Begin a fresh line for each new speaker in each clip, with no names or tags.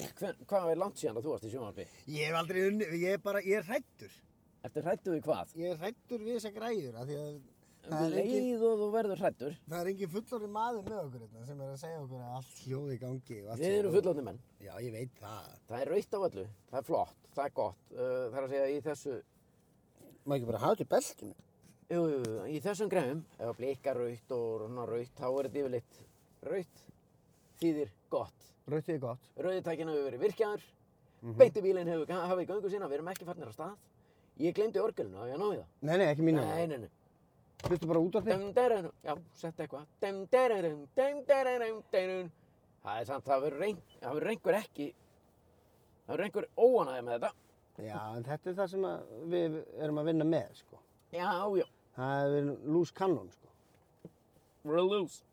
Hven, hvað er langt síðan að þú varst í sjónvarpi?
Ég hef aldrei unni, ég er bara, ég er hrættur.
Eftir hrættu við hvað?
Ég er hrættur við þessa græður af því að það
Um
er, engin,
leið og þú verður hrættur.
það er engin fullorinn maður með okkur hérna sem er að segja okkur að allt hljóði í gangi og allt
Við erum
sé-
fullandi menn.
Já, ég veit það.
Það er rautt á öllu. Það er flott. Það er gott. Uh, það er að segja í þessu,
Má ekki bara hafa þetta í belginu?
jú, jú, jú, í þessum grefum, ef að blika rautt og svona rautt, þá er þetta yfirleitt rautt þýðir gott.
Rautið er gott.
Rauðitækinn hefur verið virkjaður,
Mhm.
mm -hmm. beinti bílinn hefur hafið göngu sína, við erum ekki farnir af stað. Ég glemdi orgelinu að ég náði það.
Nei, nei, ekki mínu.
Nei, nei, nei.
Hlustu bara út af því.
Dum, derarum, já, sett eitthvað. Dum, derarum, dum, derarum, derarum. Það er samt, það verður reyn- það verður einhver ekki, það verður einhver óanæði með þetta.
Já, en þetta er það sem að við erum að vinna með, sko.
Já, já,
Það er loose cannon, sko.
release.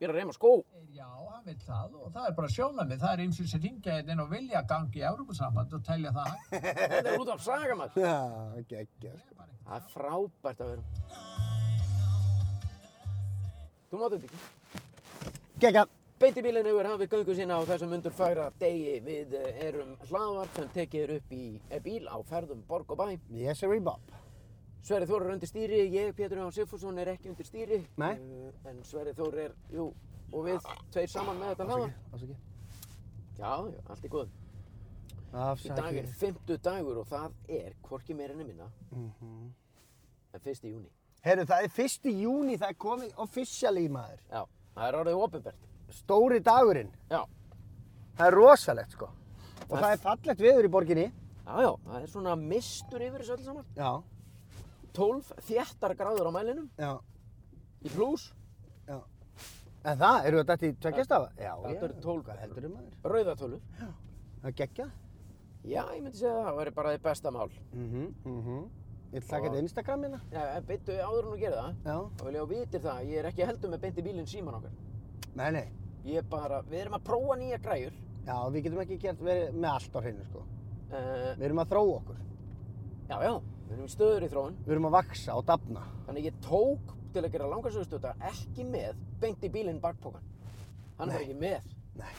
Ég er að reyma skó.
Já, hann vil það og það er bara sjónamið. Það er ymsið sem ringja hérna inn og vilja gangi í Európa-samband og telja það.
Þetta er út af sagamall.
Já, ekki, ekki, sko.
Það er frábært að vera. Þú máttu þetta ekki.
Gekka.
Beintibílinn hefur hafið göngu sína á þessum undurfæra degi. Við eh, erum hlaðvarp sem tekið er upp í eh, bíl á ferðum borg og bæ.
Yes, sir, Bob.
Sverri Þór er undir stýri, ég, Pétur Jón Sigfússon er ekki undir stýri.
Nei.
Eh, En Sverri Þór er, jú, og við tveir saman með þetta hlaðvarp.
Ásaki.
Já, já, allt er góð. Í
Afsaki.
dag er fymtu dagur og það er hvorki meira enn minna
Mhm.
en fyrsti júni.
Herru, það er 1. júni, það er komið officially maður.
Já, það er orðið ofinbært.
Stóri dagurinn.
Já,
Það er rosalegt, sko. Og
Það-
það er fallegt veður í borginni.
já, já, það er svona mistur yfir þessu öll saman.
Já,
12 þjættar gráður á mælinum
já,
í pluss.
já. En það, eru þetta í tveggjastafa? Já,
Þetta eru 12.
Hvað heldur þið maður?
Rauðatölu.
Það er geggja.
Já, ég myndi segja að það væri bara þið besta mál.
Mhm, mhm. Ég ætla að
Og-
taka þetta Instagram hérna.
Já, Eh, en byttu áður en þú gerir það.
Já.
Þá vil ég að þú vitir það, að ég er ekki heldur með beinti bílinn síman okkar.
Nei, nei.
Ég er bara, við erum að prófa nýja græjur.
Já, við getum ekki gert verið með allt á hreinu, sko.
Uh,
Við erum að þróa okkur.
já, já, við erum í stöður í þróun.
Við erum að vaksa og dafna.
Þannig ég tók til að gera langarsögustöta ekki með beinti bílinn bakpókan. Hann er bara ekki með,
Nei.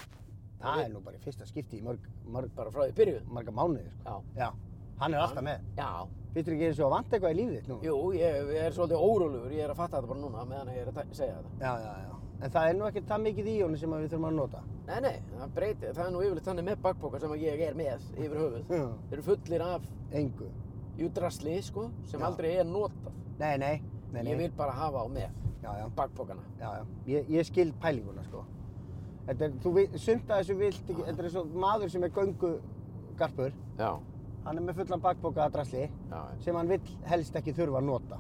Og
Það
við-
er nú bara í fyrsta skipti í mörg, mörg,
bara frá því byrjuð.
marga mánuði, sko.
Já,
Já. Hann er alltaf með.
já,
Fyrir ekki eins og að vant eitthvað í lífið þitt nú?
jú, ég, ég er svolítið órólegur, ég er að fatta þetta bara núna meðan ég er að ta- segja þetta.
Já, já, já. En það er nú ekkert það mikið í honum sem að við þurfum að nota.
Nei, nei, það breytir, það er nú yfirleitt þannig með bakpóka sem að ég er með yfir höfuð.
Já.
Þeir eru fullir af
Engu.
jú drasli, sko, sem
Já.
aldrei er notað.
Nei, nei, nei, nei.
Ég vil bara hafa á með
Já, já,
bakpókana.
já, já. Ég, ég skil pælinguna, sko. Þetta er, þú vi- sumt að þessu vilt ekki, þetta er eins og maður sem er göngugarpur.
Já,
Hann er með fullan bakboka að drasli
já,
sem hann vill helst ekki þurfa að nota.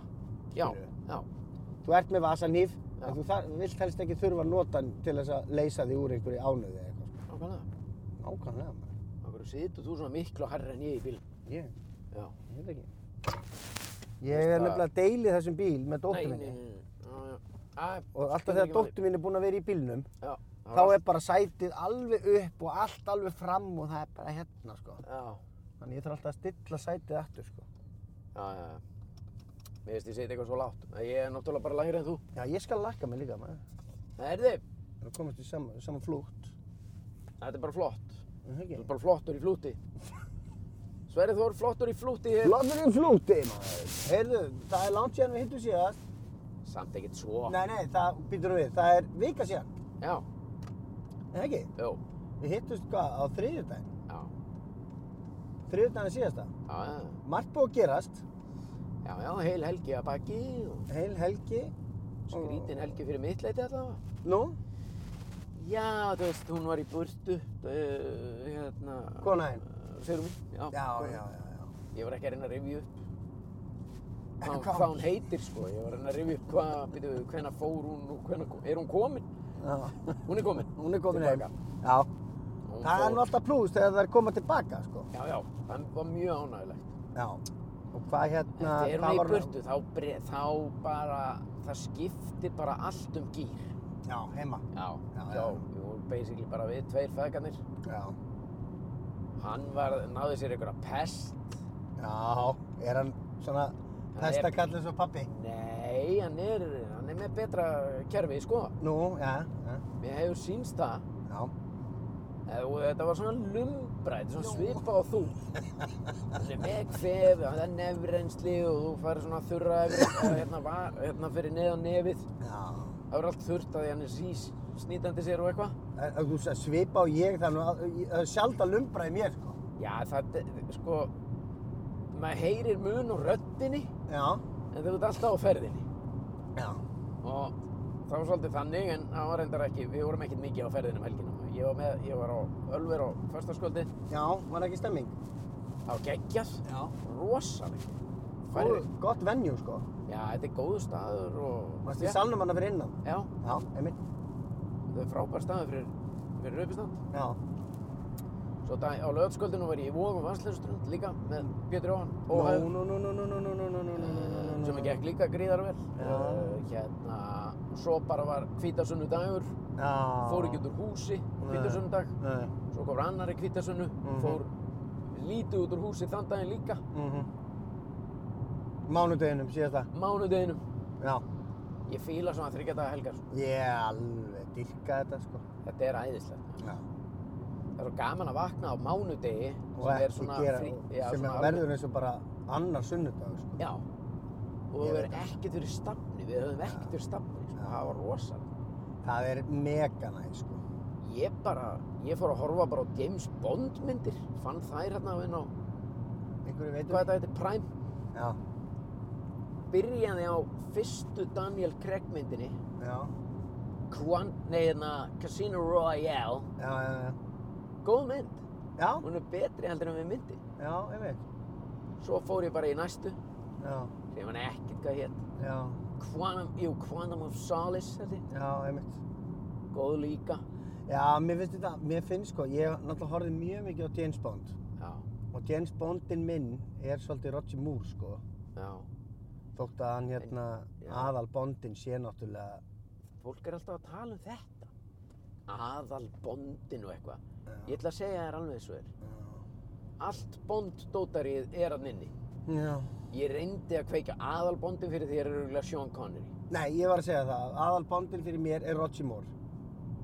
já,
Skilurðu?
já,
Þú ert með vasanýf,
Já.
en þú þar, vilt helst ekki þurfa að nota hann til þess að leysa þig úr einhverju ánöðu eða eitthvað. sko.
nákvæmlega.
Nákvæmlega, maður.
Af hverju situr þú svona miklu harri en ég í bíl?
Ég,
Já.
ég veit ekki. Ég er nefnilega að deili þessum bíl með dóttur minni.
nei, nei. Já, já. Æ,
Og alltaf
skiptir
þegar
ekki máli.
dóttur mín er búin að vera í bílnum,
Já,
þá er bara sætið alveg upp og allt alveg fram og það er bara hérna, sko.
Já,
Þannig ég þarf alltaf að stilla sætið aftur, sko.
já, já, já. Mér finnst ég setja eitthvað svo látt. Nei, Ég er náttúrulega bara lægri en þú.
Já, ég skal lakka mig líka, maður.
Það er þið.
Það er að komast í sama, sama flútt.
Þetta er bara flott.
Er það
Þú
ekki?
er bara flottur í flúti. Sverrið Þór, flottur í flúti hér.
Lofur í flúti, maður. Heyrðu, það er langt síðan við hittum síðast.
Samt ekkert svo.
Nei, nei, það býtur við. Það er vika síðan,
Já,
er það ekki?
jú,
Við hittumst hvað á þriðjudaginn.
já,
Þriðjudaginn er síðasta.
já, já,
Margt búið að gerast.
já, já, heil helgi að baki og
Heil helgi.
skrítin helgi fyrir mitt leiti allavega.
Nú,
Já, þú veist, hún var í burtu, uh, hérna...
konaðinn.
Segir hún? Já,
Já,
konan.
já, já, já.
Ég var ekki að reyna að rifja upp hvað,
Hvað-
hvað hún heitir, sko. Ég var að reyna að rifja upp hvað, býtu, hvenna fór hún og hvenna... Er hún komin?
Já.
Hún er komin.
Hún er komin heim.
Tilbaka.
Já.
Hún
Það er
fór-
nú alltaf plús þegar það er koma tilbaka, sko.
Já, já, það var mjög ánægilegt.
Já. Og hvað hérna...
Eftir er
hvað
hún í
var
burtu, þá, bre, þá bara, það skiptir bara allt um gýr.
Já, heima.
Já,
Já, já.
Við vorum basically bara við tveir feðgarnir.
Já.
Hann var, náði sér einhverja pest.
Já, er hann svona
er-
pestakall eins og pappi?
Nei, hann er, hann er með betra kerfi, sko.
Nú, já, já,
Mér hefur sýnst það
já.
eh, og þetta var svona lumbra, þetta er svona svipað og þú. Þannig með kvef, það er nefrensli og þú farir svona þurra yfir, og hérna, var, hérna fyrir neðan nefið.
Já.
Það var allt þurrt að því hann er sís, snýtandi sér og eitthvað.
En, en Þú sagði svipa og ég þannig að það er sjálf að lumbra í mér sko.
Já, það, sko, maður heyrir mun og röddinni,
Já.
en þú ert alltaf á ferðinni.
Já.
og það var svolítið þannig en það var reyndar ekki, við vorum ekkert mikið á ferðinu um helgina ég var með, ég var á Ölver á förstaskvöldi
Já, var ekki stemming?
á Geggjas,
Já.
rosaleg
Góð,
færið,
gott venue sko.
já þetta er góðu staður og
Varst í salnum hana fyrir innan?
já,
Já, einmitt.
þetta er frábær staður fyrir, fyrir raupistand
Já.
svo dag, á lögatskvöldinu var ég í Vóðum og Vansleirströnd líka með Pétur Jóhann
Nú,
Óhæður
nú, nú, nú, nú, nú, nú, nú, nú, nú, nú, nú, nú.
sem gekk líka gríðarvel
Já.
uh, hérna, svo bara var hvítasunnu dagur
Já.
fór ekki út úr húsi hvítasunnu dag
Nei.
Svo kom annar í kvítasunnu,
Mhm.
fór lítið út úr húsi þann daginn líka,
Mhm. Mánudeginum síðasta.
mánudeginum.
Já.
Ég fíla svona þryggja daga helgar. sko.
Ég alveg dyrka þetta sko.
Þetta er æðislegt.
Já.
Það er svo gaman að vakna á mánudegi
og
er
ekki gera
já,
sem
svona
er verður eins og bara annar sunnudag sko.
alveg- Já. Og
Ég
við erum
veit
ekkert fyrir stafni, við höfum ekkert fyrir stafni. Sko.
Já.
Það var rosalega.
það er mega næ sko.
Ég bara, ég fór að horfa bara á James Bond myndir, fann þær hérna inn á,
einhverju veitum
hvað þetta heitir, Prime.
já,
Byrjaði á fyrstu Daniel Craig myndinni,
já,
Quan, nei, hérna, Casino Royale.
já, já, já.
Góð mynd.
já,
hún er betri heldur en við myndi
já, ég veit
svo fór ég bara í næstu
já,
sem hann ekkert hvað hétt
já,
Quantum, jú, Quantum of Solace held ég.
já, ég veit
góð líka
já, mér finnst þetta, mér finnst sko ég náttúrulega horfði mjög mikið á James Bond
já,
og James Bondin minn er svolítið Roger Moore sko
já,
þótt að hann hérna
Já.
aðal Bondin sé náttúrulega
fólk er alltaf að tala um þetta aðal bondin og eitthvað
já,
ég ætla að segja þér alveg þessu er allt bonddótarið er að minni
já. já
ég reyndi að kveika aðal bondin fyrir því ég er örgulega Sean Connery
nei, ég var að segja það, aðal Bondin fyrir mér er Roger Moore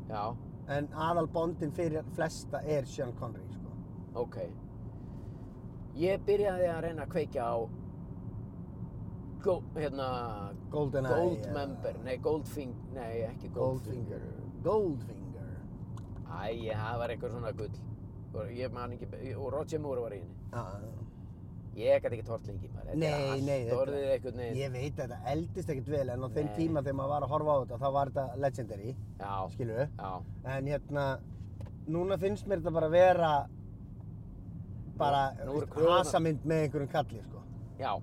já,
En aðal bondin fyrir flesta er Sean Connery, sko.
ok ég byrjaði að reyna að kveika á Go, hérna,
Golden
Goldmember, nei Goldfing, nei ekki Goldfinger.
Goldfinger. Goldfinger.
Æ, það var einhver svona gull. Og Ég man ekki, og Roger Moore var í henni.
Já,
Ég gæti ekki tort lengi maður. Þetta er
Nei,
allt
nei, þetta-
orðið einhvern veginn.
ég veit að þetta eldist ekkert vel en á þeim
Nei.
tíma þegar maður var að horfa á þetta þá var þetta legendary,
Já,
skilur við.
já,
En hérna, núna finnst mér þetta bara vera bara
Nú- nú eru
veist,
kröfurnar-
hasamynd með einhverjum kalli, sko.
já,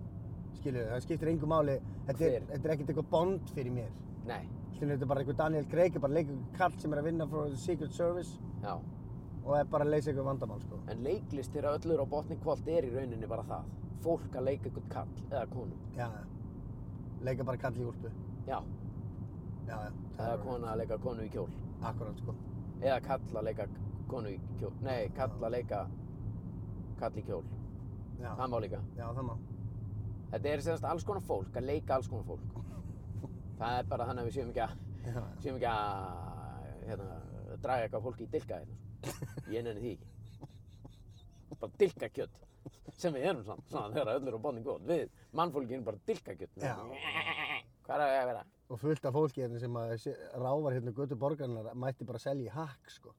Skilur við, það skiptir engu máli. Þetta
Hver?
er, þetta er ekkert eitthvað bond fyrir mér.
nei,
Skilur við, þetta er bara einhver Daniel Craig, er bara leikur kall sem er að vinna frá Secret Service
já.
og er bara að leysa einhver vandamál, sko.
En leiklist þeirra öllur á botni kvöld er í rauninni bara það. Fólk að leika einhvern kall eða konu.
Já, leika bara kall í úlpu.
Já,
Já, já.
eða kona að leika konu í kjól.
Akkurát, sko.
Eða kall að leika konu í kjól. Nei, kall að leika kall í kjól.
Já,
Það má líka.
já, það má.
Þetta er semst alls konar fólk, að leika alls konar fólk. Það er bara þannig að við séum ekki að,
Já,
séum ekki að hérna, draga eitthvað fólki í dilka hérna. sko. Ég nenni því ekki. Bara dilka kjött, sem við erum samt, svona þegar öll eru á botni góð. Við, mannfólki, erum bara dilka kjött.
Já.
Hvað er að vera?
Og fullt af fólki hérna sem að sé- ráfar hérna götu borgarnar mætti bara selja í hakk, sko.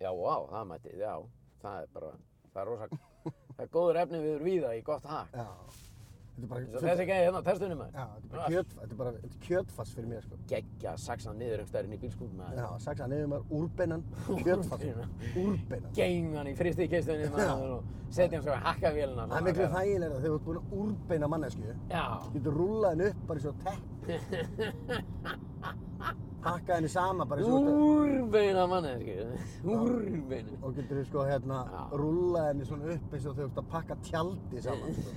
Já, á, það mætti, já, það er bara, það er rosa, það er góður efni við erum víða í gott hak.
Já. Þetta er bara...
Eins og Þessi gæði hérna á testunum maður.
Já, þetta er bara, kjöt, þetta er bara þetta er kjötfass fyrir mér, sko.
Geggja saksan niður einhvers staðarinn í bílskútum maður.
Já, saksa nefnum maður úrbennan, kjötfass, úrbennan.
geng hann í fristíkistunni maður og setja hann svo að hakka vélina
Það er miklu þægilega þegar þú ert búinn að úrbeina mannesku.
Já,
Getur rúlað henni upp bara í svo tepp. Hakka henni sama bara í svo tepp.
úrbeina mannesku Úrbeina
og getur þið sko hérna
Já.
rúllað henni svona upp eins og þau ert að pakka tjaldi saman sko.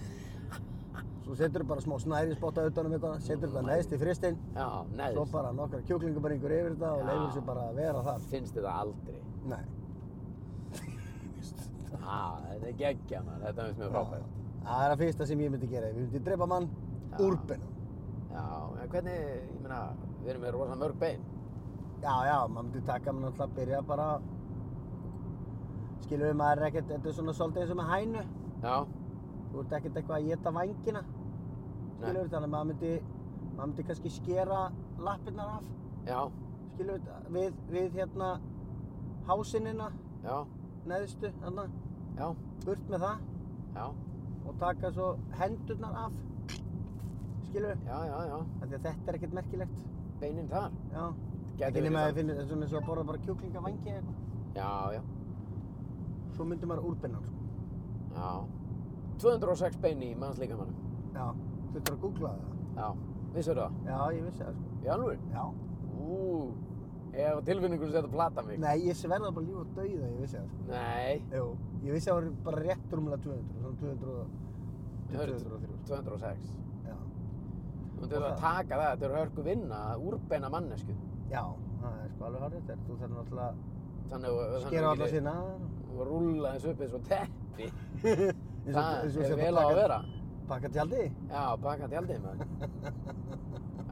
svo setur þið bara smá snæri spotta utan um þetta setur þetta neðst í fristinn
Já,
svo
neðst
bara nokkra kjúklingubringur yfir þetta og
Já.
leifir sér bara að vera þar
Finnst þetta aldrei
nei
Já, þetta er geggja maður, þetta finnst mér frábært
það er að fyrsta sem ég myndi gera við myndi drepa mann
Já.
úrbeina
Já, en hvernig, ég meina, við erum með rosa mörg bein
já já, maður myndi taka hann alltaf að byrja bara skilur við maður er ekkert, þetta er svona svolítið eins og með hænu
Já,
þú ert ekkert eitthvað að geta vængina
nei,
skilur við þannig að maður myndi maður myndi kannski skera lappirnar af
já,
skilur við, við, við hérna hásinina
já,
neðstu, þarna,
já,
burt með það
já,
og taka svo hendurnar af skilur við,
já, já, já,
af því að þetta er ekkert merkilegt
beinin þar.
já,
Gæti
ekki
verið
nema að
það.
þið finnir þetta er svona eins og að borða bara kjúklinga vangi
Já, já,
svo myndi maður úrbenna hann, sko.
já. 206 beini í manns líkamannum.
já, þú þurftur að googla það
Já, vissur það?
já, ég vissi það, sko.
Í alveg?
já
Ú, ég hef á tilfinningunum sem þetta plata mig.
Nei, ég sverða bara líf og dauða, ég vissi það sko.
Nei,
Jú. Ég vissi það voru bara rétt rúmlega 200, svona 200 og... til
Hörðu,
203.
206.
Já.
Þú þurfum
það-
að taka það, þetta er hörku vinna, að úrbeina mannesku.
Já, það er sko alveg hárið þetta. Þú þarf náttúrulega að
Þannig að
skera á alla sína.
og rúlla þessu upp eins og teppi.
Eins og- eins
Það
og
er
sért
vel á að
pakka-
vera.
Pakka tjaldi.
Já, baka tjaldið maður.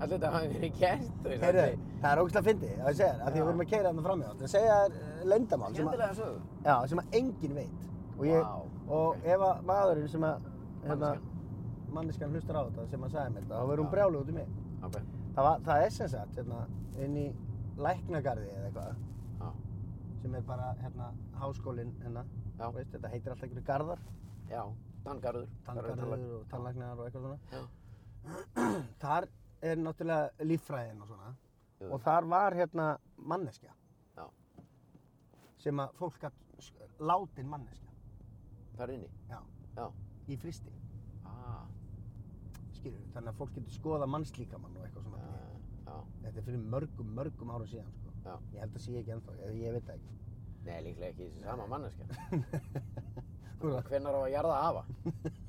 Allt þetta hafi verið gert. þú veist,
Heyrðu,
allir-
það er ógst að fyndi, það ég segja þér, af því
Já.
að við erum að keira þarna fram í átt. Það segja þér lendamál sem að,
Skemmtilega sögur.
já, sem að enginn veit. Og, ég, hérna-
Vá,
og
ok.
ef að maðurinn sem að, manniskan hlustar á þetta sem að sagði mér þetta, þá verður hún
Já.
brjáluð út í mig.
Ok,
Það, var, það er sem sagt hérna, inn í læknagarði eða eitthvað
já,
sem er bara hérna, háskólinn hérna,
Já.
veist, þetta heitir alltaf einhverju garðar,
já, tanngarður.
tanngarður og tannlæknar og eitthvað svona.
Já,
Þar er náttúrulega líffræðin og svona
Jú.
og þar var hérna manneskja
Já.
sem að fólk gætt látin manneskja
þar inni.
Já.
Já.
í fristi,
Ah,
skilur við, þannig að fólk getur skoða mannslíkamann og eitthvað
já,
svona.
já.
Þetta er fyrir mörgum, mörgum árum síðan sko.
Já.
Ég held að sé ekki ennþá, ég, ég veit það ekki.
Nei, líklega ekki þessi sama manneskja.
Hvað?
Hvenær á að jarða afa?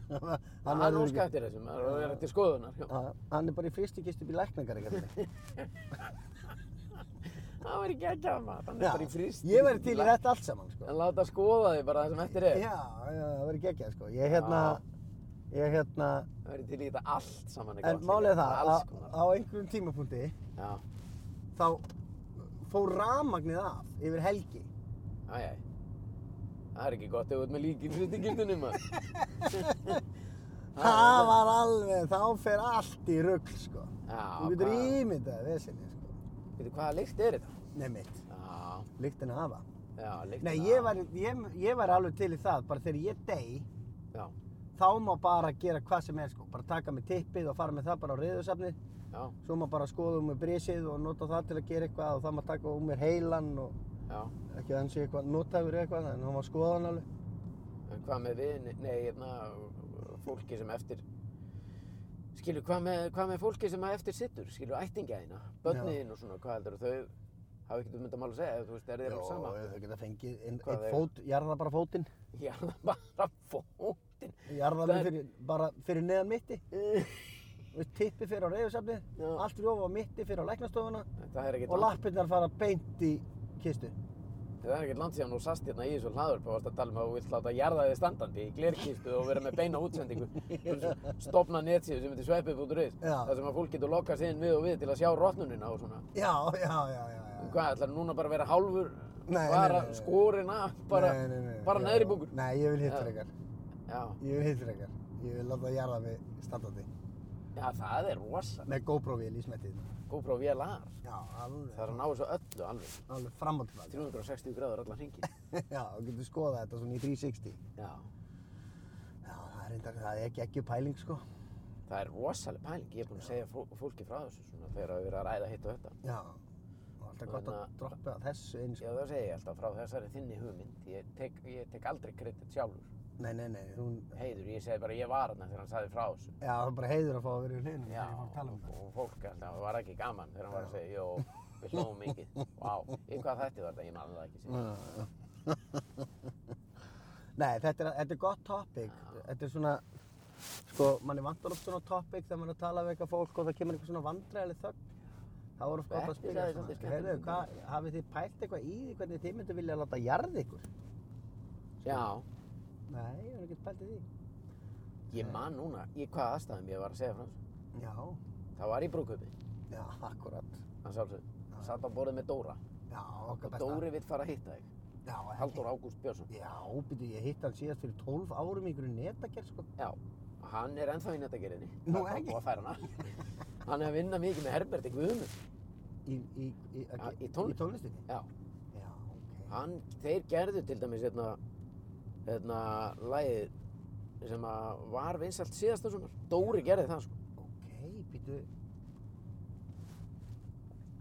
hann
Hann
verður
er
ekki-
óska eftir þessum, það er til skoðunar. já.
Ha- Hann er bara í fristikistu upp í lækningar eitthvað.
Það verður ekki ekki að maður, hann er bara í frist.
Ég væri til í þetta allt saman, sko.
En láta skoða þig bara það sem eftir
Já,
er.
já, það verður geggjað, sko. Ég hérna, ég hérna,
Það verður til í þetta allt saman
en
gott
málið er
líka,
það,
alls
að
konar.
á einhverjum tímapunkti
Já,
þá fór rafmagnið af yfir helgi.
já, já. Það er ekki gott ef þú ert með líkin fristingildinu maður.
Það var alveg, þá fer allt í rugl, sko.
Já,
Þú getur
hvað-
ímyndað vesinni, sko.
Veitu, hvaða lykt er þetta?
Nei mitt,
Já,
lyktin af hafa.
já, lykt. hérna.
Nei, ég væri, ég, ég væri alveg til í það, bara þegar ég dey,
Já,
þá má bara gera hvað sem er, sko. Bara taka með tippið og fara með það bara á reyðusafnið.
já,
Svo maður bara skoða um mér brísið og nota það til að gera eitthvað og það maður taka um mér heilan og
já.
ekki að hann sé eitthvað notaður eða eitthvað en hann var skoða hann alveg.
En hvað með við, nei, hérna, fólki sem eftir, skilur, hvað með, hvað með fólki sem að eftir sittur, skilur, ættingja þína,
Já.
börniðin og svona, hvað heldur þau, hafa ekkert um þetta mál að segja, þú veist, er þið alveg sama?
þau geta fengið inn,
Hvað
einn
er-
fót, jarða bara fótinn.
Já, bara fótinn.
Jarða mig
Það er-
fyrir, bara fyrir neðan mitti. Þú veist, tippi fyrir á reyðusafnið,
Já.
allt rjófa á mitti fyrir á læknastofuna
Það er ekkert
og
langt,
lappirnar fara beint í kistu.
það er ekkert langt síðan og sast hérna í þessu hlaðurp og varst að tala um að þú vilt láta jarða þig standandi í glerkistu og vera með beina útsendingu. Stopna netsíðu sem heitir sveppið.is,
Já.
þar sem að fólk getur lokast inn við og við til að sjá rotnunina og svona.
Já, já, já, já, já.
Hvað, ætlar núna bara að vera hálfur,
Nei,
bara
nei, nei, nei.
skorinn af, bara,
Nei, nei, nei, nei,
bara
já.
neðri bungur?
Nei, ég vil hittur
Já.
ykkar.
Já,
Ég vil hittur ykkar. Ég vil láta jarða mig standandi.
já, það er rosa.
Með GoPro-vél í smettið.
GoPro VLR,
Já, alveg.
það er að ná þessu öllu alveg.
alveg fram og tilbaka.
360 gráður allan hringi.
Já, þú getur skoðað þetta svona í 360.
Já,
Já, það er reyndar, það er ekki ekki pæling sko.
það er rosaleg pæling. Ég er búinn að segja fó- fólki frá þessu svona þegar við erum að ræða hitt og þetta.
Já, og alltaf gott
Þannig
að
að-
droppa þessu eins
Já,
sko.
það segi ég alltaf frá þessari þinni hugmynd. Ég tek, ég tek aldrei kredit sjálfur.
Nei, nei, nei, hún,
Heiður, ég segi bara ég var hana þegar hann sagði frá þessu.
já, það er bara heiður að fá að vera í hliðinu
Já,
þegar ég fór að tala um þetta.
og fólk alltaf var ekki gaman þegar hann var að segja, jó, við hlóðum mikið. Vá, í hvað þætti var þetta? Ég manna það ekki sér.
Já. Nei, þetta er, þetta er gott topic. Þetta er svona, sko, manni vantar oft svona topic þegar maður er að tala við eitthvað fólk og það kemur eitthvað svona vandræðileg þögn. Það voru gott að um
Þetta
spyrja
sagði
svona,
svolítið skemmtilegt.
heyrðu, hvað, hafið þið pælt eitthvað í því hvernig þið myndu vilja láta jarða ykkur?
Já,
Nei, ég hef ekkert pælt í því.
ég man núna í hvað aðstæðum ég var að segja frá þessu.
Já,
Það var í brúköpi,
já, akkurat.
hann sjálfsög. Satt á borðið með Dóra.
Já, okkar
Og
besta.
Dóri vill fara að hitta þig.
Já, en-
Halldór Ágúst Björnsson.
Já, býtu, ég hitt hann síðast fyrir 12 árum í einhverju netagerð, sko.
Já, hann er ennþá í nettagerðinni.
Nú,
Það er bara
ekki?
búið að færa hana. Hann er að vinna mikið með Herbert í Guðmund.
Í, í, í,
Ja, í tónlist.
Ah, Í tónlistinni?
Já,
Já, ok.
hann, þeir gerðu til dæmis hérna, hérna, lagið sem að var vinsalt síðasta sumar. Dóri gerði það, sko.
Ok, býtu.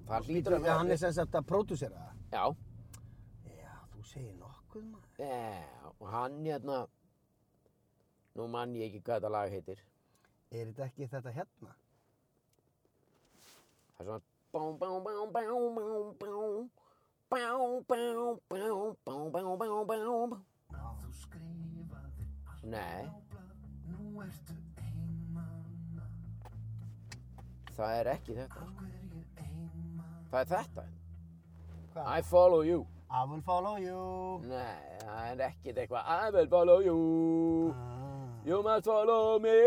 Það hlýtur
Býtu,
að
hann er sem sagt að pródúsera það.
Já,
Já, þú segir nokkuð, maður.
já, og hann hérna, nú mann ég ekki hvað þetta lag heitir.
Er þetta ekki þetta hérna?
Það er svona bám, bám, bám, bám, bám, bám, bám, bám, bám, bám, bám, bám, bám.
Já.
Þú skrifaðir allt
Nei.
á blað, nú ertu einmana,
Það er ekki þetta.
af hverju einmana?
Það er þetta.
Hvað?
I follow you.
I will follow you.
Nei, það er ekkit eitthvað. I will follow you.
Ah.
You must follow me.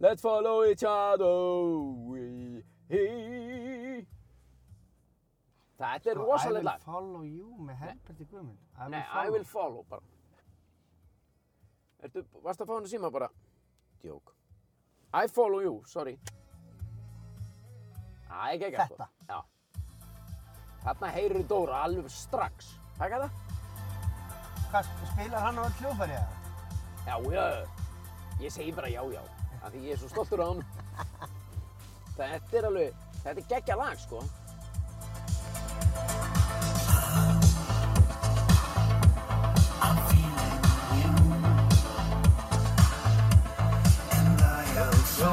Let's follow each other. We, he. Þetta er rosalega
I will
lag.
follow you með Herberti Guðmund. I
Nei, I will follow bara. Ertu, varst að fá hann að síma bara? Djók. I follow you, sorry. Æ, ekki ekki.
Þetta.
Já. Þarna heyrir Dóra alveg strax. Hækka það?
Hvað, spilar hann á öll hljóðfæri eða?
Já, já. Ég segi bara já, já. Af því ég er svo stoltur á hann. þetta er alveg, þetta er geggja lag, sko.
I'm feeling you, and I am so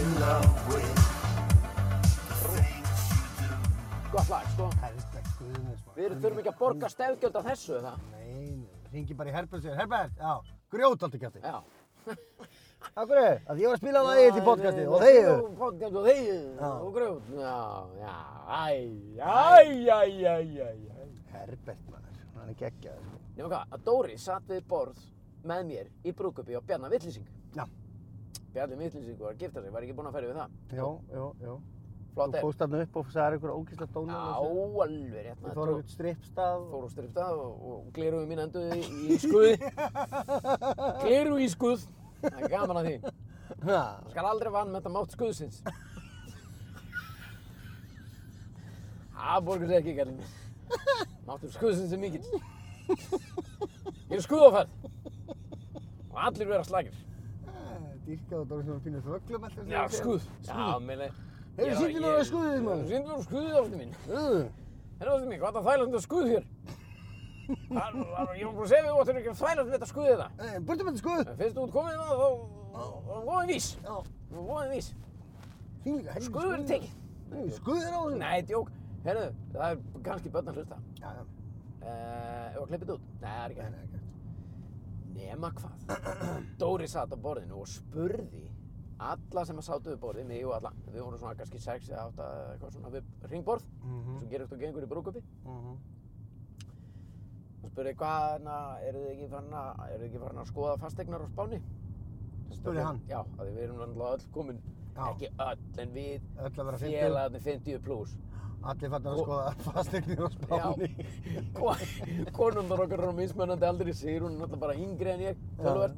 in love with the things you do.
Gott lag, sko.
Herberti Guðmund, maður.
Við þurfum ekki að borga stefgjöld af þessu, er það.
Nei, nei, ringi bara í Herbert og segir, Herbert, já, grjót alltaf kjátti.
Já.
Af hverju? Af því ég var að spila lagið þitt í podcasti og þeir
Og Podcast og þegið
Já.
og grjót. Já, já, æ, æ, æ, æ, æ, æ.
Herbert maður, hann er geggjað sko.
Nefnum hvað, að Dóri satt við borð með mér í brúkupi á Bjarnar Vittlýsing.
Já,
Bjarnar Vittlýsing var að gifta sig, var ekki búinn að ferja við það.
já, já, já
Flott
Þú
er.
fóst þarna upp og sagði einhverja ógísla
Já,
dónar
alveg rétt
Þú
maður.
fór á einhvern strippstað og-
Fór á styrftað og, og gleruðu mín enduði í, í skuði. gleruðu í skuð. Það er gaman að því.
Ha,
Það skal aldrei vann með þetta mátt skuðsins. Það borgur sér ekki, kallinn minn. Máttur skuðsins er mikill. Ég er skuðaferð. Og allir vera slagir.
Dýrkað og það var svona pínu þvöglum alltaf
Já, skuð. Já, meina...
Heyrðu,
Já,
sýndu mér
ég-
að skuðið, maður.
Sýndu mér að skuðið, ástu mín. Herra, ástu mín, hvað er það þælast með skuð hér? Það, það- ég var búin að segja við þú áttur ekki að þælast með þetta skuðið það.
Eh, Burtu með þetta skuð
Fyrst þú út komið það, þá... þá var voðin vís.
Já,
Þá var voðin vís.
þýlíka, helviti
Skuður er tekið.
Skuðir á þessu
Nei, djók. Herru, það er kannski börn að hlusta.
Já, já,
Uh, og klippið út? Nei, það er ekki
nei,
hægt.
nei, ekki
Nema hvað? Dóri satt á borðinu og spurði alla sem að sátu við borðið, mig og alla. Við vorum svona kannski 6 eða 8 eitthvað svona við ringborð,
Mhm.
sem gerist og gengur í brúkupi.
Mhm.
Hún spurði hvað, na, eru þið ekki farin að, eru þið ekki farin að skoða fastegnar á Spáni?
Spurði hann?
Já, af því við erum náttúrulega öll komin,
Já.
ekki öll, en við
Öll að vera 50.
félagarnir 50 pluss.
Allir fattar að
Og-
skoða fasteignir á Spáni
konundar okkar eru mismunandi aldrei segir hún er náttúrulega bara yngri en ég tölvöld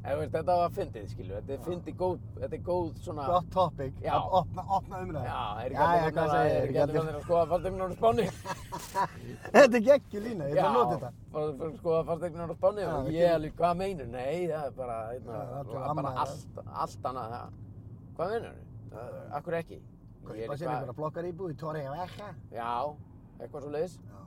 en þú veist, þetta var fyndið skilju þetta er fyndið góð þetta er góð svona
Gott topic,
Já.
Op- opna, opna
já,
umræði
er ekki
Jæja,
allir
hvað
að
segir
er ekki allir að að skoða fasteignar á Spáni
Þetta er geggjur lína, ég ætla að nota þetta.
bara að skoða fasteignar á Spáni
Já,
og
við
ég
gerum-
alveg hvað meinur nei það er bara, einna,
Já, allir
bara,
amma-
allt, allt annað það. hvað meinur þau? akkur ekki Ég er
Kaupa sér
eitthvað-
einhverja blokkar íbúð í Torrey og Ekka.
já eitthvað svo leiðis
Já.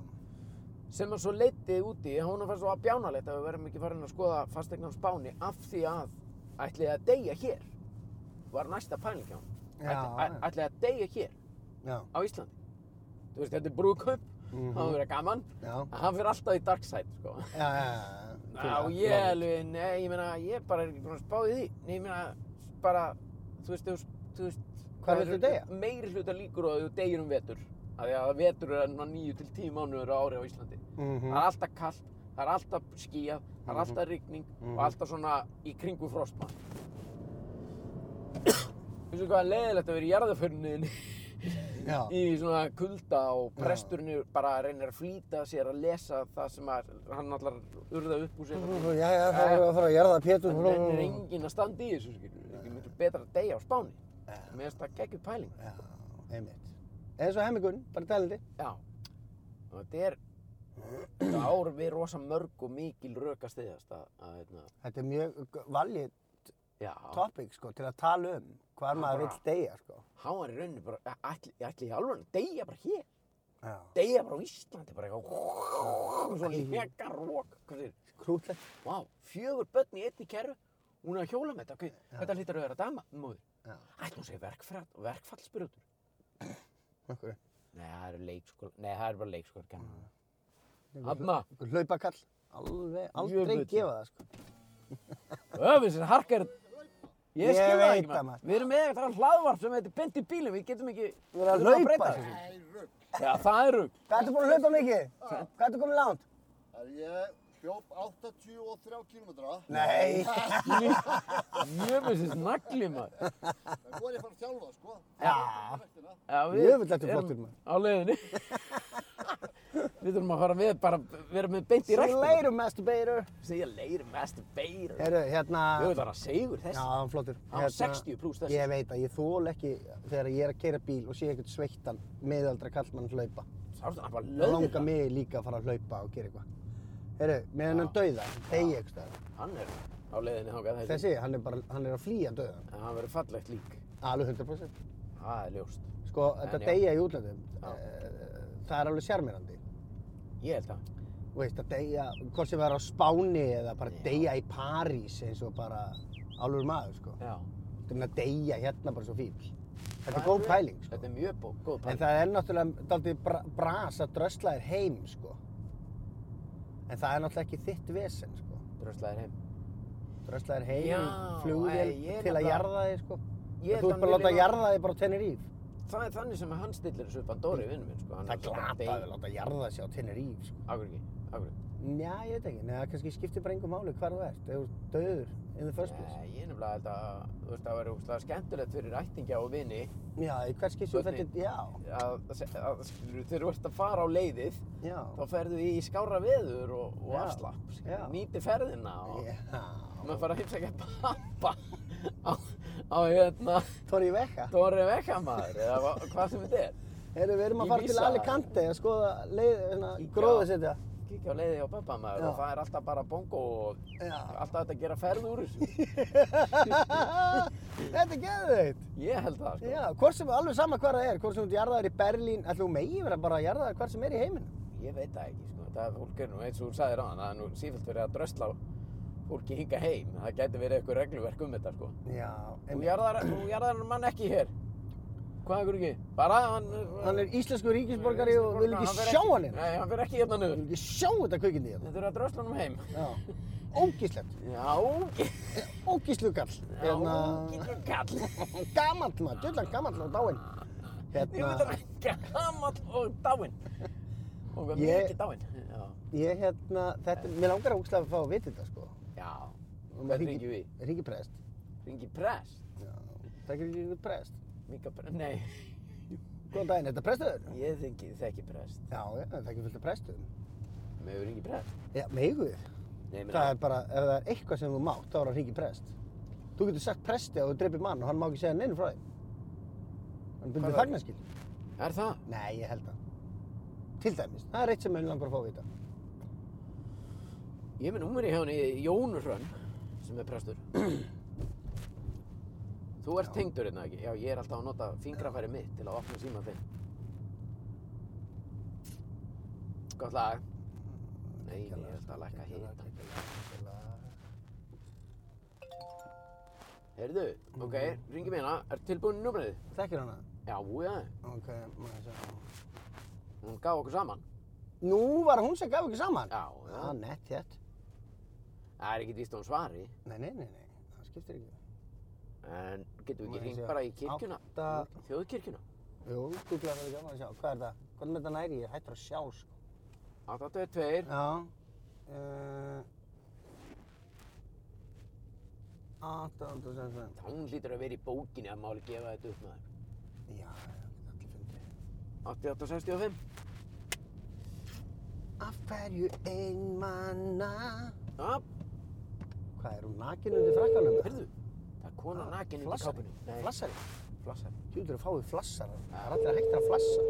sem að svo leiti úti, hún fannst svo að bjánalegt að við verðum ekki farin að skoða fastegnar spáni af því að ætli að deyja hér var næsta pæling hjá hún
Já, já.
ætli að deyja hér
Já.
á Íslandi þú veist, þetta er brúðkaup,
Mhm.
það var verið gaman
Já.
en hann fyrir alltaf í dark side sko.
Já, já, já.
Já, ég alveg, nei, ég meina, ég bara er ekki búin að spá í því Nei, ég meina, bara, þú veist, þú veist, þú veist
Hvar viltu deyja?
Meir hluta líkur á að þú deyjir um vetur Af því að vetur er enn nýju til tíu mánuður á ári á Íslandi
Mhm.
Það er alltaf kallt, það er alltaf skíjað, það er alltaf rigning
Mhm.
og alltaf svona í kringu frostmann Þú veist hvað er leiðilegt að vera í jarðaförninni
Já.
í svona kulda og presturinn er bara að reyna að flýta sér að lesa það sem að hann allar urða upp úr sér.
Já, já, það er að fara að gera það Pétur.
Þannig er enginn að standa í þessu, skilur. Það er miklu betra að deyja á Spáni. Mér finnst það geggjur pæling.
Já, einmitt. Eins og hemmingun, bara talandi.
Já. Og þetta er, þetta ár við rosa mörg og mikil rök að stiðast að, að, hérna,
Þetta er mjög valið
já.
topic, sko, til að tala um hvar maður
bara-
vill deyja, sko.
Hann var í rauninni bara, æ- ætli, ætli í alveg, deyja bara hér.
Já.
Deyja bara á Íslandi, bara eitthvað. Svo leka rók, hvað þeir,
Krútlegt.
vá, fjögur börn í einni kerru. Hún er að hjóla með þetta, ok, þetta hlýtar að vera dama, móður.
Já.
Ætli hún sé verkfall, verkfallsbyrjótur.
Okkur.
Nei, það eru leikskóla, nei, það eru bara leikskóla,
Mm.
Hanna,
Okkur hlaupakall. Alveg, aldrei
Jöfull.
gefa það, sko.
öfins er harkar, ég
Ég
skil það
veit
ekki, maður.
það, maður.
Við erum með eitthvað hlaðvarp sem heitir Bent í bílum, við getum ekki,
Við erum að
við þurfum
hlaupa
breyta
þessu.
þessu. Já, það er rugg.
Hvað ertu búin að hlaupa mikið? Hvað ertu komið langt?
Er ég hljóp 83 kílómetra.
Nei.
Jöfins er nagli, maður.
En nú er ég að fara að þjálfa, sko.
Já.
Rektina.
Já, við
Jöfull, þetta er
erum
flottur, maður.
Á leiðinni. Við þurfum að fara við bara, við erum með Bent í
Þú
rættum.
leirum, masturbator.
Segja leirum, mestur beir.
Heyrðu, hérna...
Jöfins var að segur
Já,
þessi.
það var flottur. Hérna,
Hann var 60 plús þessi.
Ég veit að ég þól ekki þegar ég er að keira bíl og sé ekkert sveittan miðaldra kallmann hlaupa.
Sástu, hann var
Það langar
löður.
mig líka að fara að hlaupa og gera eitthvað. Heyrðu, meðan hann dauða, degi eitthvað. staðar.
Hann er á leiðinni þangað þessi.
Þessi, hann er bara, hann er að flýja dauðan.
En hann verður fallegt lík.
Alveg 100%.
Það er ljóst.
Sko, þetta
En já.
deyja í útlöndum,
Já.
eh, það er alveg sjarmirandi.
Ég held það.
Þú veist, að deyja, hvort sem er á Spáni eða bara
Já.
deyja í París eins og bara alveg maður, sko.
Já.
Þetta er að deyja hérna bara svo fíbl. Þetta
Það
er góð
vel.
pæling, sko.
Þetta er mjög bó, góð
En
pæling.
það er náttúrulega daldið bra bras að drösla þér heim, sko. En það er náttúrulega ekki þitt vesen, sko.
Dröslaðir heim.
Drösla þér heim,
Já,
í flugvél
æ, ég er
til að
nefnilega-
jarða þig, sko.
Ég
En þú
held
ert bara að láta
vilji ná-
jarða þig bara á Tenerife.
Það er þannig sem hann stillir þessu upp að Dóri vinnum minn, sko. Hann
Það er
bara
glatað
bein-
að láta jarða sig á Tenerife, sko.
Af hverju ekki? Af hverju?
Njá, ég veit ekki. Nei, það kannski skiptir bara einhver máli hvar þú ert. Ef þú ert döður in the first place.
Nei, ég er nefnilega held að, þú veist, það verður úrslega skemmtilegt fyrir ættingja og vini
Já, í hvert skipti þú
Börnin.
fættir, já,
að, að, að skilur, þegar þú ert að fara á leiðið,
já.
þá ferðu í skára veður og, og
Já,
afslapp, skilur,
já.
nýti ferðina og
Já.
maður fara að heimsækja pappa á, á hérna,
Tóri í vekka.
Dóri Vekkamaður, eða hva- hvað sem þetta er.
Heyrðu, við erum
Í
að fara til
Visa.
Alicante að skoða leið, hérna,
Kíkja á-
gróðasetja.
kíkja á leiði á pappa maður
Já.
og það er alltaf bara bongo og
Já.
alltaf þetta að gera ferð úr þessu.
Þetta er geðveikt.
Ég held það sko.
Já, hvort sem, alveg sama hvar það er, hvort sem þú ert jarðaður í Berlín, ætlum þú megi vera bara að jarðaður hvar sem er í heiminum.
Ég veit það ekki sko. Það er fólk er nú eins og þú sagðir á hann, það er nú sífælt verið að drösla á fólki hinga heim. Það gæti verið eitthvað regluverk um þetta sko.
Já,
Þú
en
jarðar, þú jarðar hann mann ekki hér. Hvað er ekki? Bara hann...
hann er íslensku ríkisborgari og vil
hann fer
ekki sjá hann hérna.
Nei, hann fyrir ekki hérna
Vil
niður.
ekki sjá þetta kvikindi hérna.
Þetta eru að drösla hann heim.
Já, ógíslegt,
Já,
ógíslugall. Hérna,
gítur kall.
gamall maður, djöldan gamall og
Ég
dáinn.
veit
Hérna,
hann gammal og dáinn. Og hvað
Ég-
mikið dáinn. Já.
ég hérna, þetta, mér langar ógíslega að fá að vita þetta, sko.
Já,
Og
hvað
maður
ringjum við?
Ringi prest.
Ringi prest?
Já, það er ekki prest.
Mika prest? Nei,
Góðan daginn, þetta er prestur?
ég þengi, þekki prest.
Já, já, það er ekki fullt af prestum.
Megur ringi prest?
Já, megu þið.
Nei, ég meina-
Það er bara, ef það er eitthvað sem þú mátt, þá er að ringi prest. Þú getur sagt presti að þú dreipir mann og hann má ekki segja neinu frá þig. Hann er bundið
Hvað er-
þagnaskil.
Er það?
Nei, ég held það. Til dæmis, það er eitt sem mér langar að fá að vita.
Ég minn umri hjá henni Jónu Hrönn, sem er prestur. Þú ert tengdur hérna ekki? Já, ég er alltaf að nota fingrafæri mitt til að opna síma þinn. Gott lag. Nei, nei, ég held að lækka hita. Heyrðu, ok, ringi mér hérna. Er tilbúin í numrið?
Þekkir hana?
Já, já.
Ok, maður sjá.
Hún gaf okkur saman.
Nú var hún sem gaf ekki saman?
Já,
Já,
já.
nett, hétt.
Það er ekkert víst að hún svari.
Nei, nei, nei, nei, það skiptir ekki.
En getum við
Maður
ekki hringt
sé
bara í kirkjuna?
átta-
Þjóðkirkjuna?
Jú, gúgla það er gaman að sjá. Hvað er það? Hvernig með þetta næri? Ég er hættur að sjá, sko.
822
Já. Uh, 865.
Þá hún hlýtur að vera í bókinni að máli gefa þetta upp með
Já, allir fundið.
8865
Af hverju einmanna?
Já,
Hvað er hún nakin undir frakkanum? Ah,
heyrðu, það er kona nakin undir
Flassari?
kápunni. Nei,
Flassari? Flassari. Tjúldur að fáið flassara. Það er allir að hægt að flassa.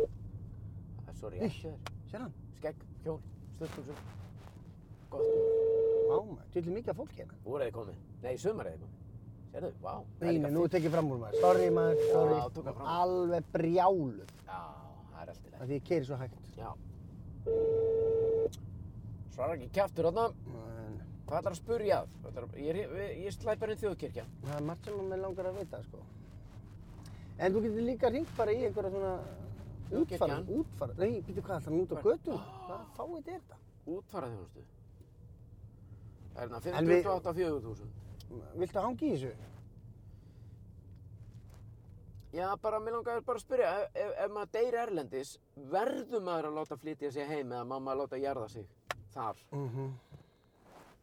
það er svo rétt hjá þér.
Sér hann?
Skegg, hjól, stöldbúksum. Gott,
Máma. Tjúldur mikið af fólki hérna.
voru þið komið. Nei, sumar er þið komið. Sérðu, vá. það er
Nei,
líka
nei, nú er tekið fram úr maður. Sorry maður, sorry.
Já, tökum fram úr.
Alveg brjáluð.
fínt. Já, það er allt í
Af
lagi.
því ég keiri svo hægt.
Já. Svara ekki kjaftur þarna.
En
Hvað ætlar að spurja að? Hvað ætlarðu- Ég, er- ég, ég slæpar inn þjóðkirkja.
það er margt sem að mér langar að vita, sko. En þú getur líka hringt bara í einhverja svona útfara,
Kirkjan.
útfara. Nei, býttu hvað, það er út á
Hvar?
götuna. Hvað fáið er þetta?
Útfara þjónustu. Það er hérna
En við-
58.000.
Viltu hangi í þessu?
Já, bara, mér langaði bara að spyrja, ef, ef, ef maður deyr erlendis, verður maður að láta flytja sig heim eða má maður láta jarða sig þar?
Mm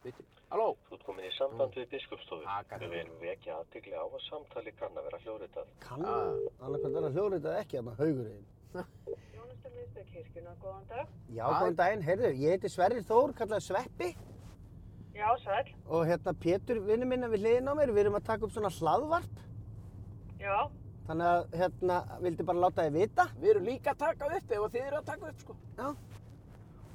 Veitu? Halló?
Þú ert komin í samband við biskupstofu.
Ah, kannski.
Við viljum vekja aðtigli á að samtali kann að vera hljóðritað.
Kann,
Ah.
annarkvæmt er að hljóðrita eða ekki þarna haugurinn.
Þjónustu miðstöð kirkjuna, góðan dag.
Já,
Hæ.
góðan daginn, heyrðu, ég heiti Sverrir Þór, kallaði Sveppi
Já, sæl.
og hérna Pétur, vinnu minna við hliðin á mér, við erum að taka upp svona hlaðvarp,
Já,
þannig að hérna, vildi bara láta þið vita.
Við erum líka að taka upp ef þið eru að taka upp, sko.
Já.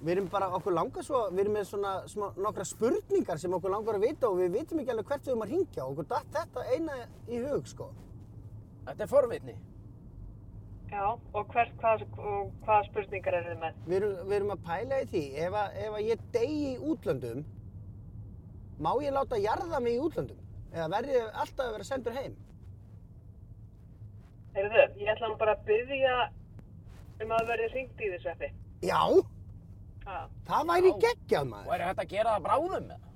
Við erum bara, okkur langar svo, við erum með svona smá, nokkra spurningar sem okkur langar að vita og við vitum ekki alveg hvert við erum að ringja og okkur datt þetta eina í hug, sko.
Þetta er forvitni.
já. Og hvert, hvað, og hvaða spurningar eru þið með?
Við erum, við erum að pæla í því, ef að, ef að ég degi í útlöndum, má ég láta jarða mig í útlöndum? Eða verði ég alltaf að vera sendur heim?
Heyrðu, ég ætla nú bara að byggja um að verði hringt í þessu eftir.
Já!
Já.
Það væri
Já.
geggjað
Og
maður.
er þetta að gera það bráðum? eða?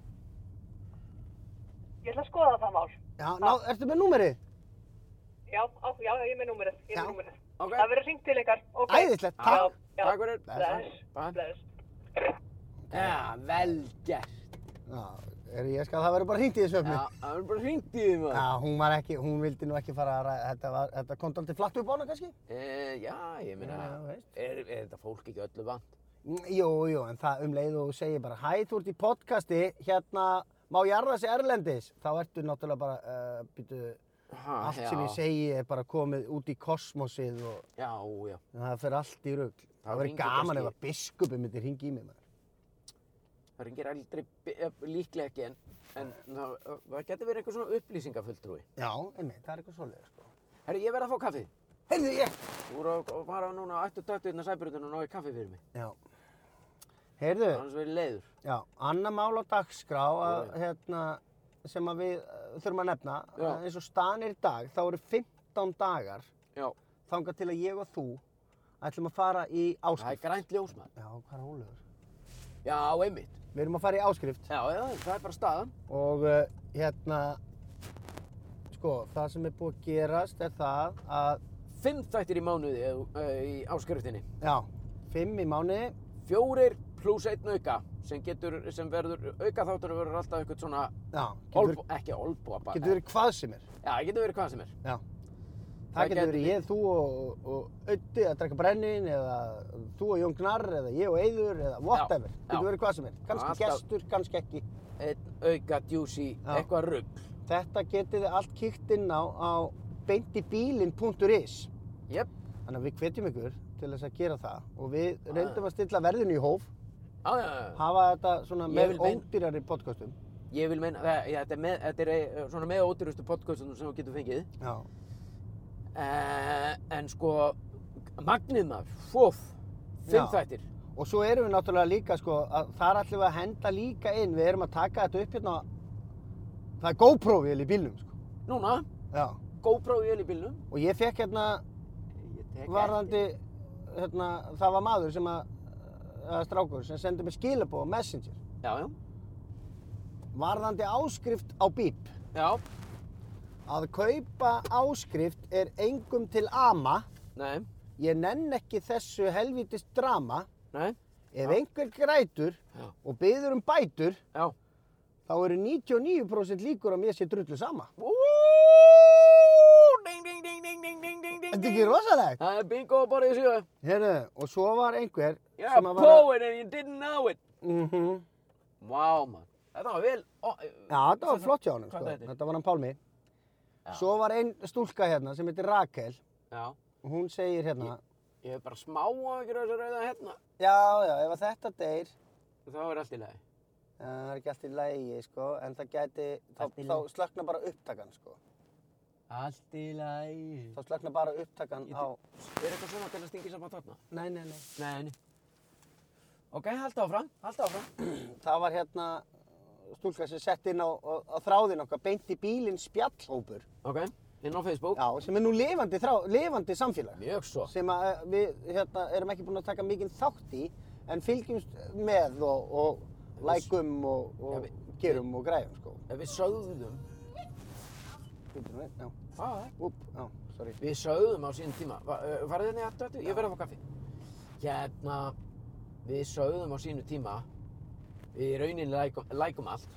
Ég ætla að skoða það mál.
Já, ná, ertu með númerið?
Já, á, já, ég er með númerið. Ég er
Já.
með númerið.
Ok.
Það verður hringt til ykkar. ok?
Æðislegt, takk.
Já, já.
Takk fyrir.
Bless.
Bye.
Bless.
Já, vel gert.
Já, er ég skal það verið bara hringt í þessu öfni.
Já, það er bara hringt í því,
Já,
maður.
hún var ekki, hún vildi nú ekki fara að ræða, þetta, var, þetta kom dálítið flatt upp á hana kannski?
E, já, ég meina,
Já, veist.
er, er þetta fólk ekki öllu vant?
Mm, Jú, jú, en það um leið og þú segir bara, hæ, þú ert í podcasti, hérna, má jarða sig erlendis? Þá ertu náttúrulega bara, uh, býtu,
Ha,
allt
já.
sem ég segi er bara komið út í kosmosið og
Já, já.
það fer allt í rugg.
Þá
Það verið
hringir
gaman
kannski-
ef að biskupin myndi hringi í mig, maður.
Það ringir aldrei, bi- eh, líklega ekki, en, en það, það getur verið einhver svona upplýsingafulltrúi.
Já, einmitt, það er eitthvað svolítið, sko.
Herri, ég verð að fá kaffið.
Heyrðu, ég!
Þú voru að að fara núna á 8.20 innan sæbrutinu og náðu kaffi fyrir mig.
Já. Heyrðu,
Annars verður leiður.
Já, annað mál á dagskrá að,
Alright.
hérna, sem að við uh, þurfum að nefna,
Já.
að eins og staðan er í dag, þá eru 15 dagar
Já.
þangað til að ég og þú ætlum að fara
Það
í
er
áskrift.
grænt ljós maður.
Já, hvað er ólegur?
Já, einmitt.
Við erum að fara í áskrift
Já, já, það er bara staðan.
og uh, hérna, sko, það sem er búið að gerast er það að,
Fimm þættir í mánuði eh, eh, í áskriftinni.
já, 5 í mánuði,
Fjórir pluss einn auka sem getur, sem verður, auka þáttunum verður alltaf eitthvað svona
já, getur,
olbú, ekki olbúa bara.
getur verið hvað sem er.
Já, það getur verið hvað sem er.
Já.
Það
Það getur
gæti
verið ég, þú og, og Ötti að drekka brennin eða þú og Jón Gnarr eða ég og Eyður eða whatever.
já.
Getur verið hvað sem er. Kannski
Alltaf.
gestur, kannski ekki.
Einn auka, djúsi,
Já.
eitthvað rugg.
Þetta getið þið allt kíkt inn á, á beintibílin.is
Jöp.
Þannig að við hvetjum ykkur til þess að gera það og
Ah.
við reyndum að stilla verðinu í hóf,
Já, já, já.
hafa þetta svona
Ég
með
vil meina-
ódýrari podcastum.
Ég vil meina, það- já, þetta er, með, þetta er eh, svona með ótyrustu podcastum sem þú getur fengið.
Já.
Uh, en sko, magnið maður, fóf, fimm
Já.
þættir.
Og svo erum við náttúrulega líka, sko, að þar ætlum við að henda líka inn, við erum að taka þetta upp hérna, á- það er GoPro-vél í bílnum, sko.
Núna,
Já.
GoPro í öll í bílnum.
Og ég fekk hérna
Ég tek
varðandi, hérna, það var maður sem að, eða strákur sem sendi mér skilabóð á Messenger.
eftir. Já, já.
Varðandi áskrift á bíp.
Já,
Að kaupa áskrift er engum til ama.
nei,
Ég nenn ekki þessu helvítist drama.
nei,
Ef einhver grætur
Já.
og byður um bætur,
já.
þá eru 99% líkur að mér sé drullu sama.
Ú, ding, ding, ding, ding, ding, ding, ding, ding,
Þetta er
ding.
ekki rosalegt?
Það er bingo á borðið sjö.
Heyrðu, og svo var einhver
Yeah, poet and you didn't know it.
Mm
Vá, mann. Þetta var vel... Ó, eh,
Já, þetta var flott hjá
Hvað
honum, sko.
þetta heitir?
Þetta var hann Pálmi.
Já.
Svo var ein stúlka hérna sem heitir Rakel.
Já.
og Hún segir hérna,
Ég hef bara smá áhyggjur af þessu rauða hérna.
já, já, ef að þetta deyr,
Þá er allt í lagi.
eh, það er ekki allt í lægi, sko, en það gæti, þá,
Allt í
þá
lagi.
slöknar bara upptakan, sko.
Allt í lagi.
Þá slöknar bara upptakan
Ég
á...
Er eitthvað svona til að stingi saman þarna?
Nei, nei, nei.
Nei, nei. Ok, halda áfram, halda áfram.
Það var hérna stúlka sem sett inn á, á, á þráðin okkar, beint í bílinn spjallhópur.
Ok, inn á Facebook.
Já, sem er nú lifandi, þrá, lifandi samfélag.
Mjög svo.
Sem að eh, við hérna, erum ekki búin að taka mikinn þátt í, en fylgjumst með og, og lækum og,
Já,
og
við-
gerum og græjum, sko.
Ef við sögðum,
Bíddu nú við, Já,
hvað er?
úp, já, sorry.
Við sögðum á sín tíma. Va- ö, Farðu hérna í aftur, aftur, ég verði að fá kaffi. Hérna, við sögðum á sínu tíma. Við í rauninni lækum, lækum allt.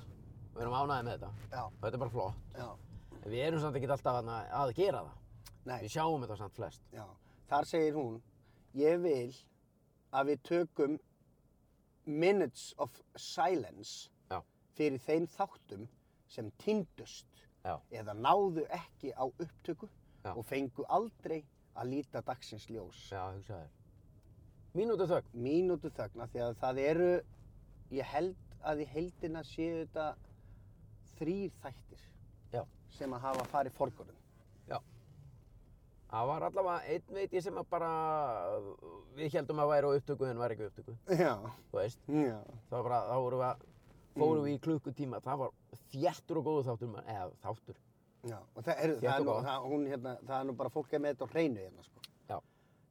Við erum ánæðið með þetta.
Já,
Og þetta er bara flott.
já,
En Við erum samt ekki alltaf þarna að gera það.
nei,
Við sjáum þetta samt flest.
já. Þar segir hún, ég vil að við tökum minutes of silence
Já.
fyrir þeim þáttum sem týndust
Já.
eða náðu ekki á upptöku
Já.
og fengu aldrei að líta dagsins ljós.
Já, hugsaðu þér. Mínútu þögn.
Mínútu þögna því að það eru, ég held að í heldina séu þetta þrýr þættir
Já.
sem að hafa farið forgörðum.
Það var allavega einn veit ég sem að bara, við heldum að væri á upptöku en var ekki á upptöku.
Já,
Þú veist,
já.
það var bara, þá vorum við að, fórum við í klukkutíma, það var þjættur og góðu þáttur, maður, eða þáttur.
Já, og það er,
Þétt
það er,
og
nú,
gott.
það, hún, hérna, það er nú bara fólk er með þetta á hreinu hérna, sko.
Já.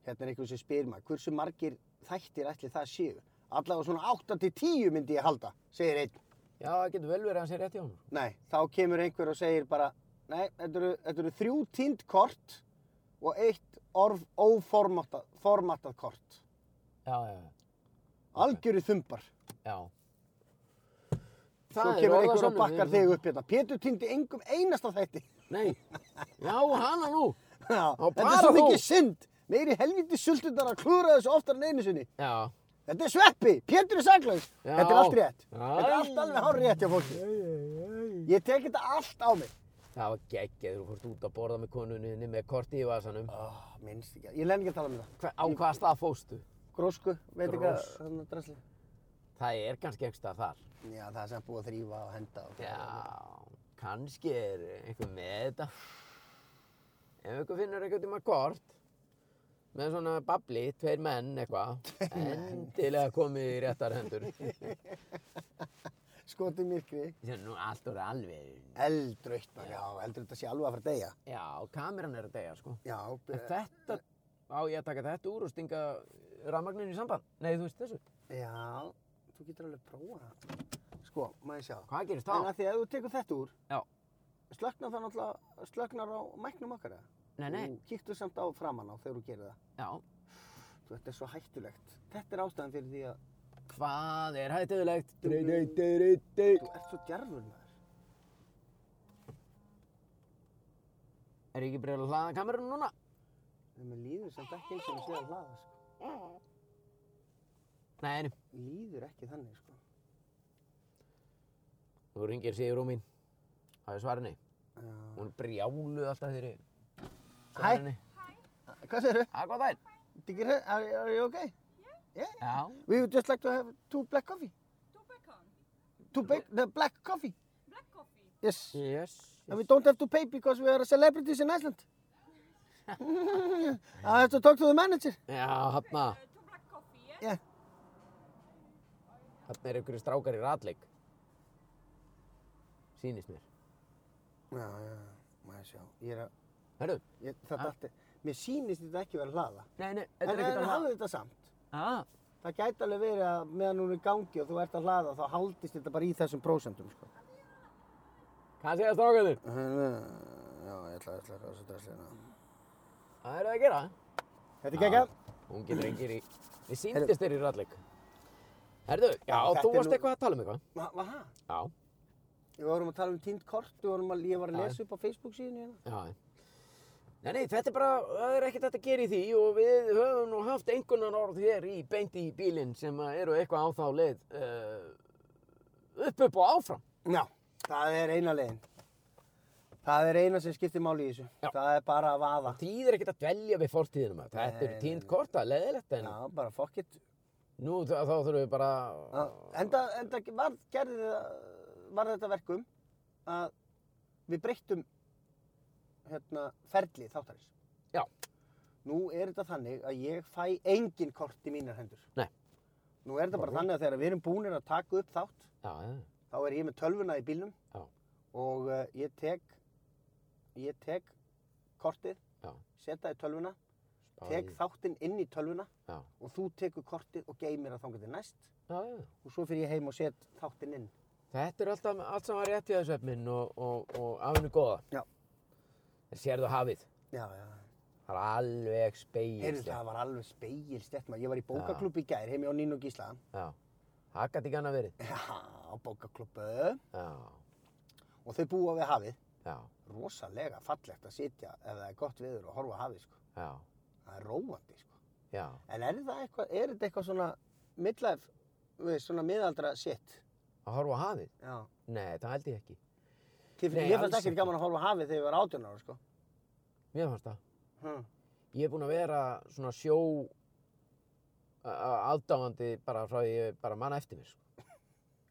Hérna er einhvern sem spyr maður, hversu margir þættir ætli það séu? Allavega svona 8-10 myndi ég halda, segir einn.
Já, það getur vel verið að hann sé rétt hjá hann.
Nei, þá kemur einhver og segir bara, nei, þetta eru, þetta eru þrjú tínd kort og eitt orf óformatað formatað kort.
Já, já, já.
Algjöri þumbar.
já.
Svo
er
kemur
orðasönnun,
einhver og bakkar
við
þig
erum-
upp hérna. Pétur týndi engum einasta þætti.
Nei, já, hana nú.
Já,
Og
þetta
bara
er svo
þú.
mikið synd. Meiri helviti sultundar að klúra þessu oftar en einu sinni.
Já,
Þetta er sveppi, Pétur er saklaus.
Já.
Þetta er allt rétt.
Já.
Þetta er allt alveg hár rétt hjá fólki. Ég tek þetta allt á mig.
það var geggjað, þú fórst út að borða með konunni með korti í vasanum.
Oh, minnst ekki. Ég lenni ekki að tala um þetta.
Hva, á hvaða stað fóstu?
Grósku, veit ekki að
Grós.
þannig drasli.
Það er kannski ekki stað þar.
Já, það er sem búið að þrýfa og henda. Og
Já, kannski er einhver með þetta. Ef einhver finnur eitthvað tíma kort, með svona babli, tveir menn eitthvað, endilega komið í réttar hendur.
Skotið myrkri.
Þetta er nú allt orðið alveg,
Eldrautt bara, já, eldrautt að sé alveg að fara að deyja.
já, kameran er að deyja, sko.
Já,
En þetta, á ég að taka þetta úr og stinga rafmagninu í samband? Nei, þú veist þessu.
já, þú getur alveg prófað það. Sko, maður sjá.
Hvað gerist
En
þá?
að því að ef þú tekur þetta úr,
Já.
slöknar það náttúrulega, slöknar á mæknum okkar eða?
Nei, nei,
Þú kíktu samt á framan á þegar þú gerir það.
já.
Þú, Þetta er svo hættulegt. Þetta er ástæðan fyrir því að
Hvað er hættuðilegt? Dei, dei, dei, dei, dei.
þú ert svo djarfur maður.
Er ég ekki byrjað að hlaða kamerunum núna?
En maður líður samt ekki eins og við séð að hlaða, sko.
Nei, nei.
Líður ekki þannig, sko.
Þú ringir Sigur mín. Það er svarinni.
Já.
Hún er brjáluð alltaf þeirri.
Hæ. Hvað segirðu?
Hæ, hvað það er?
Digger, are, are you okay?
Já.
We would just like to have two black coffee. Two black coffee? Two black, the black coffee. Black coffee? Yes.
Yes.
And we don't have to pay because we are celebrities in Iceland. I have to talk to the manager.
Já, hérna, hann að.
Yeah.
Hann er einhverju hérna strákar í ratleik. Sýnist mér.
Já, já, maður sjá. Ég er að,
Hörru?
ég, þetta
Ha?
allt er, mér sýnist Ah. þetta ekki vera hlaða.
Nei, nei,
En,
þetta er
en
ekkert að
hafðu
hlaða.
þetta samt.
Já.
Það gæti alveg verið að meðan hún er í gangi og þú ert að hlaða þá haldist þetta bara í þessum prósentum, sko.
Hvað segja strákarnir?
Já, Eh, ég ætla, ég ætla að þessu draslega.
Það eru það að gera.
Þetta er geggjað.
Ungi drengir í... Við sýndist þeir í ratleik. Herðu, já,
Já, þetta
þú
er
varst
nú-
eitthvað að tala um eitthvað.
Hva- Hvað? Ha?
Já.
Við vorum að tala um tínd kort, við vorum að, ég var að
Já.
lesa upp á Facebook síðan hérna.
Já. Nei, nei, þetta er bara, það er ekkert hægt að gera í því og við höfum nú haft einhvernar orð hér í beinti í bílinn sem að eru eitthvað á þá leið uh, upp upp og áfram.
Já, það er eina leiðin. Það er eina sem skiptir máli í þessu.
Já.
Það er bara að vaða.
Þýðir ekkert að dvelja við fortíðina maður. Þetta
Nei,
eru
nei,
tínd
nei.
korta, leiðilegt en
Já, bara fuck it.
nú þá, þá þurfum við bara...
Já, Enda, enda var, gerði, það- var þetta verkum að við breyttum hérna, ferli þáttarins.
Já.
Nú er þetta þannig að ég fæ engin kort í mínar hendur.
Nei.
Nú er þetta bara þannig að þegar við erum búinir að taka upp þátt,
Já, já,
þá er ég með tölvuna í bílnum
Já.
og uh, ég tek ég tek kortið
Já.
seta í tölvuna,
spáði
tek
í-
þáttinn inn í tölvuna
Já.
og þú tekur kortið og geymir að þangað til næst
Já, já.
og svo fyrir ég heim og set þáttinn inn
Þetta er alltaf, allt saman rétt í þessu efnin og, og, og afinu góða.
Já.
En sérðu hafið.
Já, já.
Það er alveg
Heyrðu,
speil.
það var alveg speil stett maður. Ég var í bókaklub í gær, heimi á Nín og Gísla.
Já. Það gæti ekki annað verið.
Já, bókaklubu.
Já,
Og þau búa við hafið.
já,
Rosalega fallegt að sitja ef það er gott viður og horfa á hafið, sko.
já,
Það er róandi, sko.
já.
En er það eitthvað, er þetta eitthvað svona midlæf, við svona miðaldra shit?
Að horfa á hafið?
Já.
Nei, það held ég ekki.
Þið,
Nei,
ég
alls
fannst ekkert
ekki.
gaman að horfa á hafið þegar ég var 18 ára, sko.
Mér fannst það.
Hm.
Ég er búinn að vera svona sjó aðdáandi bara frá því ég bara manna eftir mér, sko.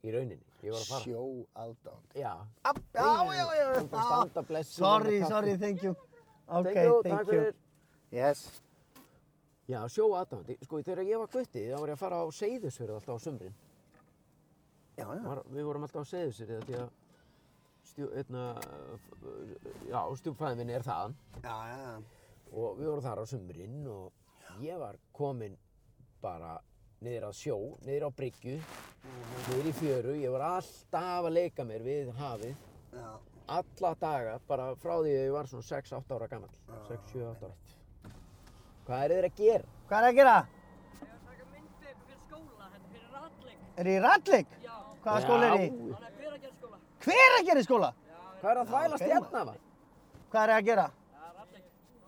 Í rauninni. Ég var að fara.
Sjó aldán.
Já.
Já, já, já. Ah,
Þú bara standa blessuð.
Sorry, sorry, thank you. Ok,
Thank you,
thank
takk
you.
fyrir.
Yes.
Já, sjó aðdáandi. Sko, þegar ég var gutti, þá var ég að fara á Seyðisfjörð alltaf á sumrin.
Já, já.
Var, við vorum alltaf á Seyðisfjörð því að stjú, einna, já, stjúpfæðin minn er þaðan.
Já, já, já.
og við vorum þar á sumrin og ég var kominn bara niður að sjó, niður á bryggju, niður í fjöru, ég var alltaf að leika mér við hafið,
Já,
alla daga, bara frá því að ég var svona 6-8 ára gammal, 6-7 ára. Hvað eru þeir að gera?
Hvað er að gera?
Ég var að taka myndir fyrir skóla, þetta er fyrir ratleik.
Er ég í Radlik?
Já,
Hvaða skóla er ég í?
Já,
hann er fyrir að gera skóla.
Hver að gera í skóla?
Hvað eru að þvælast
ok,
hérna maður?
Hvað er ég að gera?
Já, ratleik.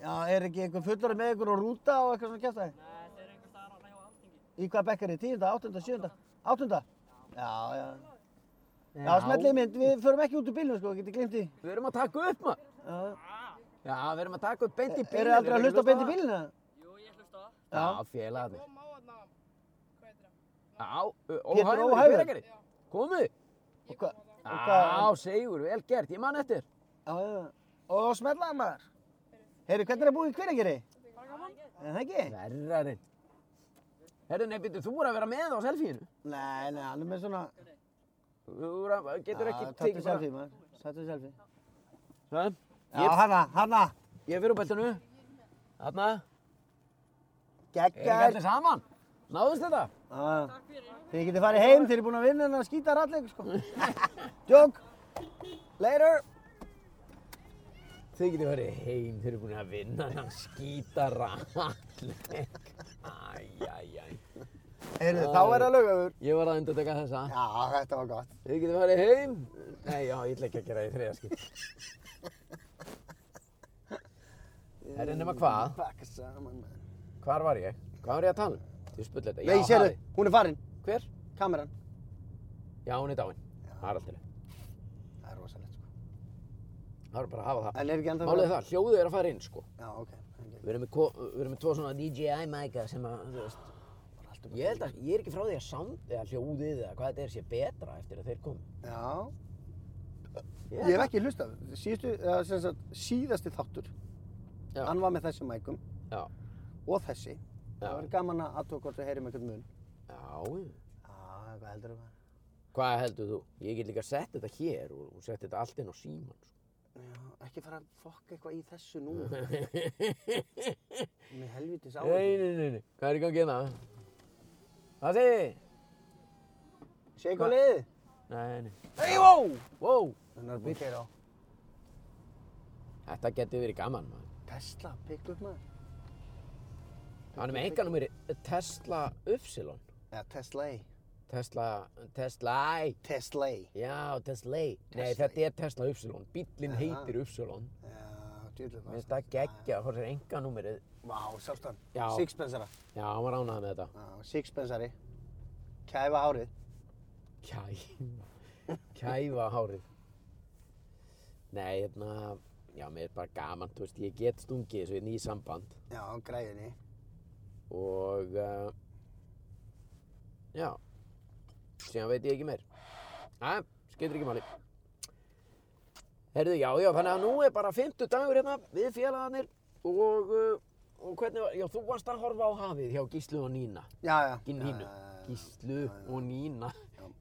Já, er ekki einhver fullari með ykkur og rúta og eitthvað svona kjæftæði?
Nei, þetta er einhvers staðar að hjá alþingi.
Í hvaða bekk er ég? Tíunda, áttunda, sjöunda? Áttunda? Já, já. Já, smellið mynd, við förum ekki út úr bílnum sko, getið glimt því.
Við erum að taka upp maður.
Já.
Já, við erum að taka upp beint í bílinn.
Eru aldrei að hlusta beint í bílnum?
Jú, ég hlusta á það.
Já, félagarnir.
Kom á hérna, hvað heitir það?
Já,
Pétur
óhæður,
óhæfur.
óhæður. Komuð.
Og hvað? og hvað-
Já, segjur, vel gert, ég man eftir.
Já, já. Og smellaði maður. Heyrðu, hvernig er að búa í Hveragerði?
Bara gaman?
Er það ekki?
Verrarinn. Herðu, nei, býttu, þú voru að vera með á selfieinu.
Nei, nei, hann er með svona...
Þú voru að, getur ekki
Já, Tattu selfie maður, tattu selfie.
Svo,
Já, hanna, hanna.
ég fyrir úr beltinu. Þarna, er ekki
Geggar.
allir saman? Náðust þetta?
Já.
Takk fyrir.
Þið getið farið heim, þið eru búin að vinna en að skýta ralleik, sko. Jók! Later!
Þið getur farið heim, þið eru búin að vinna hann skýta ralleg. Æjæjæj.
Heyrðu, þá er það lögöfur.
Ég var að undur taka þessa.
Já, þetta var gott.
Þið getur farið heim. Nei, já, ég ætla ekki að gera því þriðaskipt. Herri, nema hvað?
Bakka saman, maður.
Hvar var ég? Hvað var ég að tala um? Þið spurði þetta.
Nei,
Já,
sérðu,
hafið.
hún er farin.
Hver?
Kameran.
Já, hún er dáin. Það er alltaf.
Það er rosalegt, sko.
Það er bara að hafa það.
En er ekki enda
Málið er það, hljóðið er að fara inn, sko.
Já, ok.
Við erum með, ko- við erum með tvo svona DJI mæka sem að, þú veist, ég held að, ég er ekki frá því að sound, eða hljóðið eða hvað þetta er sé betra eftir að þeir komu.
Já.
Ég
Ég
held
hef ekki hlustað. Síðustu, eða sem sagt, síðasti þáttur.
Já.
Hann var með þessum mækum
Já,
og þessi.
Já.
Það var gaman að aðtók hvort við heyrim eitthvað mun.
já, já. um
Já, hvað heldur það?
Hvað heldur þú? Ég get líka sett þetta hér og, og sett þetta allt inn á síman, sko.
Já, ekki fara að fokka eitthvað í þessu nú.
nei,
Með helvitis á
nei, nei, nei, hvað er í gangi hérna? Hvað segir þið?
Sé eitthvað um liðið?
Nei, nei.
Hey, wow!
Wow,
Þannig að við keira á
þetta getur verið gaman, maður.
Tesla, pick up maður.
Hann er með enganumýri Tesla Upsilon.
Eða Tesla A.
Tesla, Tesla, æ,
Tesla A.
já, Tesla. Nei,
Tesla.
þetta er Tesla Upsilon. Bíllinn heitir Upsilon.
Já, djöfullinn var
Mér finnst það geggja, hvað er enganúmerið?
Vá, sást hann.
Já.
Sixpensara.
Já, hann var ánægð með þetta.
Já, sixpensari. Kæfa hárið.
Kæfa. Kæfa hárið. Nei, hérna, já, mér er bara gaman, þú veist, ég get stungið þessu inn í samband
Já, græðinni.
og, uh, já, síðan veit ég ekki meir. Æ, skiptir ekki máli. Herðu, já, já, þannig að nú er bara 50 dagur hérna við félagarnir og, uh, og hvernig var, já, þú varst að horfa á hafið hjá Gíslu og Nína.
Já, já.
Ekki
Já,
Nínu,
já, já, já.
Gíslu og Nína.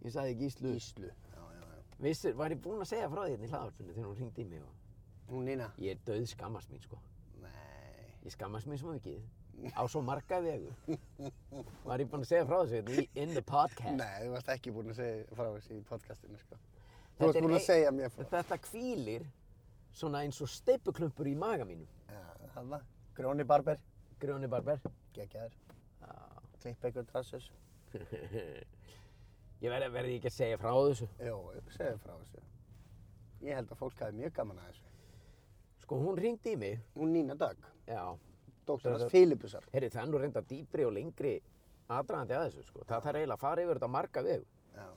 Ég sagði Gíslu. Gíslu.
Já, já, já.
Vissir, var ég búinn að segja frá því hérna í hlaðarpunni þegar hún ringdi í mig og
Hún Nína.
ég er döð skammast mín sko.
Nei.
Ég skammast mín svo mikið. Á svo marga vegu. Var ég búinn að segja frá þessu hérna í- in the podcast.
Nei, þú varst ekki búinn að segja frá þessu í podcastinu, sko.
Þetta
Þú varst
er
búinn að
ein-
segja mér frá.
Þetta hvílir svona eins og steipuklumpur í maga mínum.
Já, það var. Gróni barber.
Grjóni barber.
Gekkjaður. Klippa ykkur trassur.
Ég verði verð ekki að segja frá þessu.
Jó, segja frá þessu. Ég held að fólk hafi mjög gaman að þessu.
Sko, hún ringdi í mig.
Hún Nína Dögg,
Já.
dóttir
Dögg.
hans Filipusar.
Herri, það er nú reynda dýpri og lengri aðdragandi að þessu, sko. Það þarf eiginlega að fara yfir þetta á marga vegu.
Já,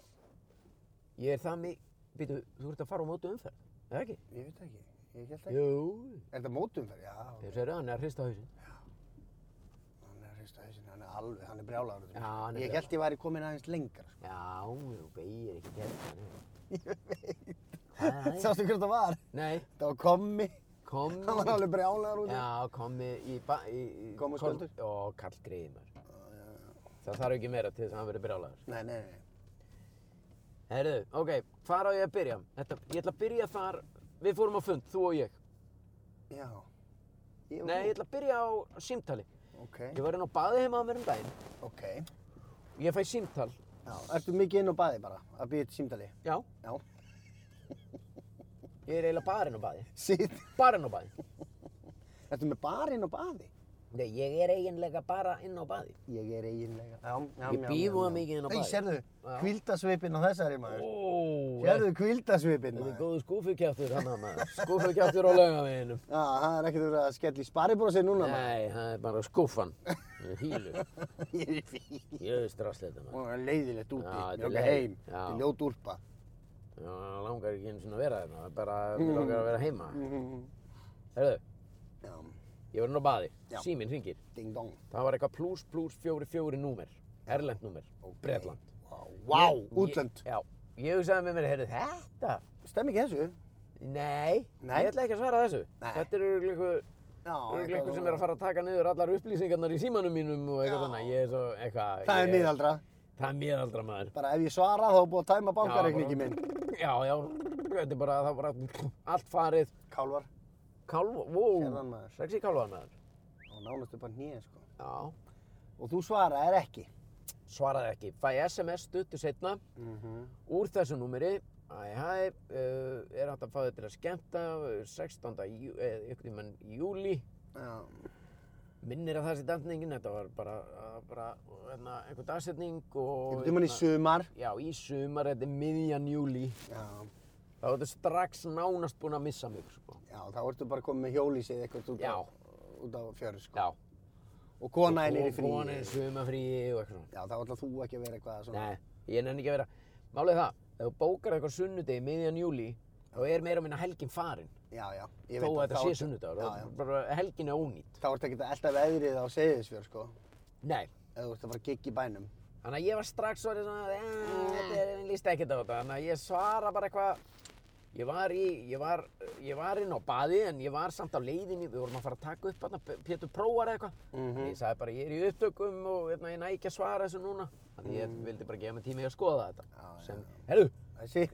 Ég er það mig, býtu, þú ert að fara á mótu umferð, eða ekki?
ég veit ekki. Ég held ekki.
Jú.
Er þetta mótumferð? Já, ok.
Þeir eru hann er að hrista hausin.
hann er hrist að hausinn, hann er alveg, hann er brjálagur.
Já, hann er
Ég held ég væri komin aðeins lengra, sko.
Já, þú beigir ekki hérna.
Sástu hvernig það var?
Nei,
Það var kommi.
komi.
Hann var alveg brjálagur út.
Já, komi í... Ba, í, í
Kom og
kom-
skjöldur.
Ó, kall greiðinar. Það þarf ekki meira til þess að hann verið brjálagur.
Nei, nei, nei.
Herðu, ok, hvar á ég að byrja? Þetta, ég ætla að byrja þar, við fórum á fund, þú og ég.
Já. Ég og
Nei,
þú.
ég ætla að byrja á símtali.
Ok,
Ég var inn á baði heima á mér um daginn.
ok.
Ég fæ símtal.
Já, ertu mikið inn á baði bara, að býja til símdali?
Já,
Já.
ég er eiginlega bara inn á baði.
Sitt.
Bara inn á baði.
Ertu með bara inn á baði?
Nei, ég er eiginlega bara inn á baði.
Ég er eiginlega. Já, já,
Ég
já,
bý
já,
voða
já.
mikið inn á
Nei,
baði.
sérðu,
Já.
kvildasvipinn á þessari maður.
Ó,
Sérðu
Þetta
kvildasvipinn
er
maður.
góðu skúfukjáttur hann að maður. Skúfukjáttur á laugaveginum.
Já, það er ekkert verið að skella í sparibrósi núna maður.
Nei, það er bara skúfan. Hílu.
Ég er fín.
Jöðu strassleita maður.
Og það er leiðilegt úti,
Já, þetta er
mjög okkar
leið-
heim,
já.
þetta er ljót úlpa.
Já, það langar ekki einu sinni að vera þarna. Það er bara, við
Mm.
langar að vera heima. Herðu,
Já,
ég var inn á baði.
Já.
Síminn hringir.
ding dong.
Það var eitthvað pluss pluss fjóri fjóri númer. Erlend númer. Bretland.
Vá,
Ég- ég-
útlönd.
Já. Ég hugsaði með mér, heyrðu, þetta?
Stemm ekki þessu?
Nei,
Nei.
ég ætla ekki að svara þessu.
Nei.
Þetta er örugglega einhver-
Já,
örugglega
eitthvað
einhver sem er að fara að taka niður allar upplýsingarnar í símanum mínum og eitthvað
Já.
þannig. Ég er svo eitthvað...
Það er
ég-
miðaldra.
Það er miðaldra maður.
Bara ef ég svara þá er búið að tæma bankareikningi
Já,
minn.
Já, já, þetta er bara, það er bara allt farið.
Kálvar.
Kálva, wow.
Sérðan maður.
Sexy kálva maður.
Og nánastu bara nýja sko.
Já,
Og þú svaraðir ekki.
svaraði ekki. Fæ SMS stuttu setna
Mhm.
úr þessu númeri. Æ, hæ, uh, er hægt að fá þetta til að skemmta uh, 16. Jú, eh, ykkur tímann júli.
Já.
Minnir að það sé dantningin, þetta var bara, uh, bara uh, hérna, einhver dagsetning og...
Ykkur tímann í
hérna,
sumar.
Já, í sumar, þetta er miðjan júli.
Já.
Það var þetta strax nánast búin að missa mig, sko.
Já, þá ertu bara komið með hjólísið eitthvað út á,
Já.
út á fjörðu sko.
Já,
Og kona henni er í frí.
Kona er í sumafríi og eitthvað svona.
Já, þá ætla þú ekki að vera eitthvað svona.
Nei, ég nenni ekki að vera. Málið er það, ef þú bókar eitthvað sunnudegi miðjan júli, þá er meira minna helgin farin.
Já, já. ég
Þó að
það.
þetta
Þá
sé
ertu-
sunnudagur.
Já,
þá
já.
er Bara helgin er ónýtt.
Þá ertu ekki að elda veðrið á Seyðisfjörð sko.
Nei.
Ef þú ert að fara að gigga í bænum.
Þannig að ég var strax orðið svona, "Eh, þetta er ég líst ekkert á þetta. Þannig að ég svara bara eitthvað, ég var í, ég var, ég var inn á baði en ég var samt á leiðinni, við vorum að fara að taka upp hérna, Pétur prófar eða eitthvað.
Mhm.
Þannig að Ég sagði bara, ég er í upptökum og hérna, ég næ ekki að svara þessu núna. Þannig að ég vildi bara gefa mig tíma í að skoða þetta.
Já, já,
Sem, herru,
Þessi,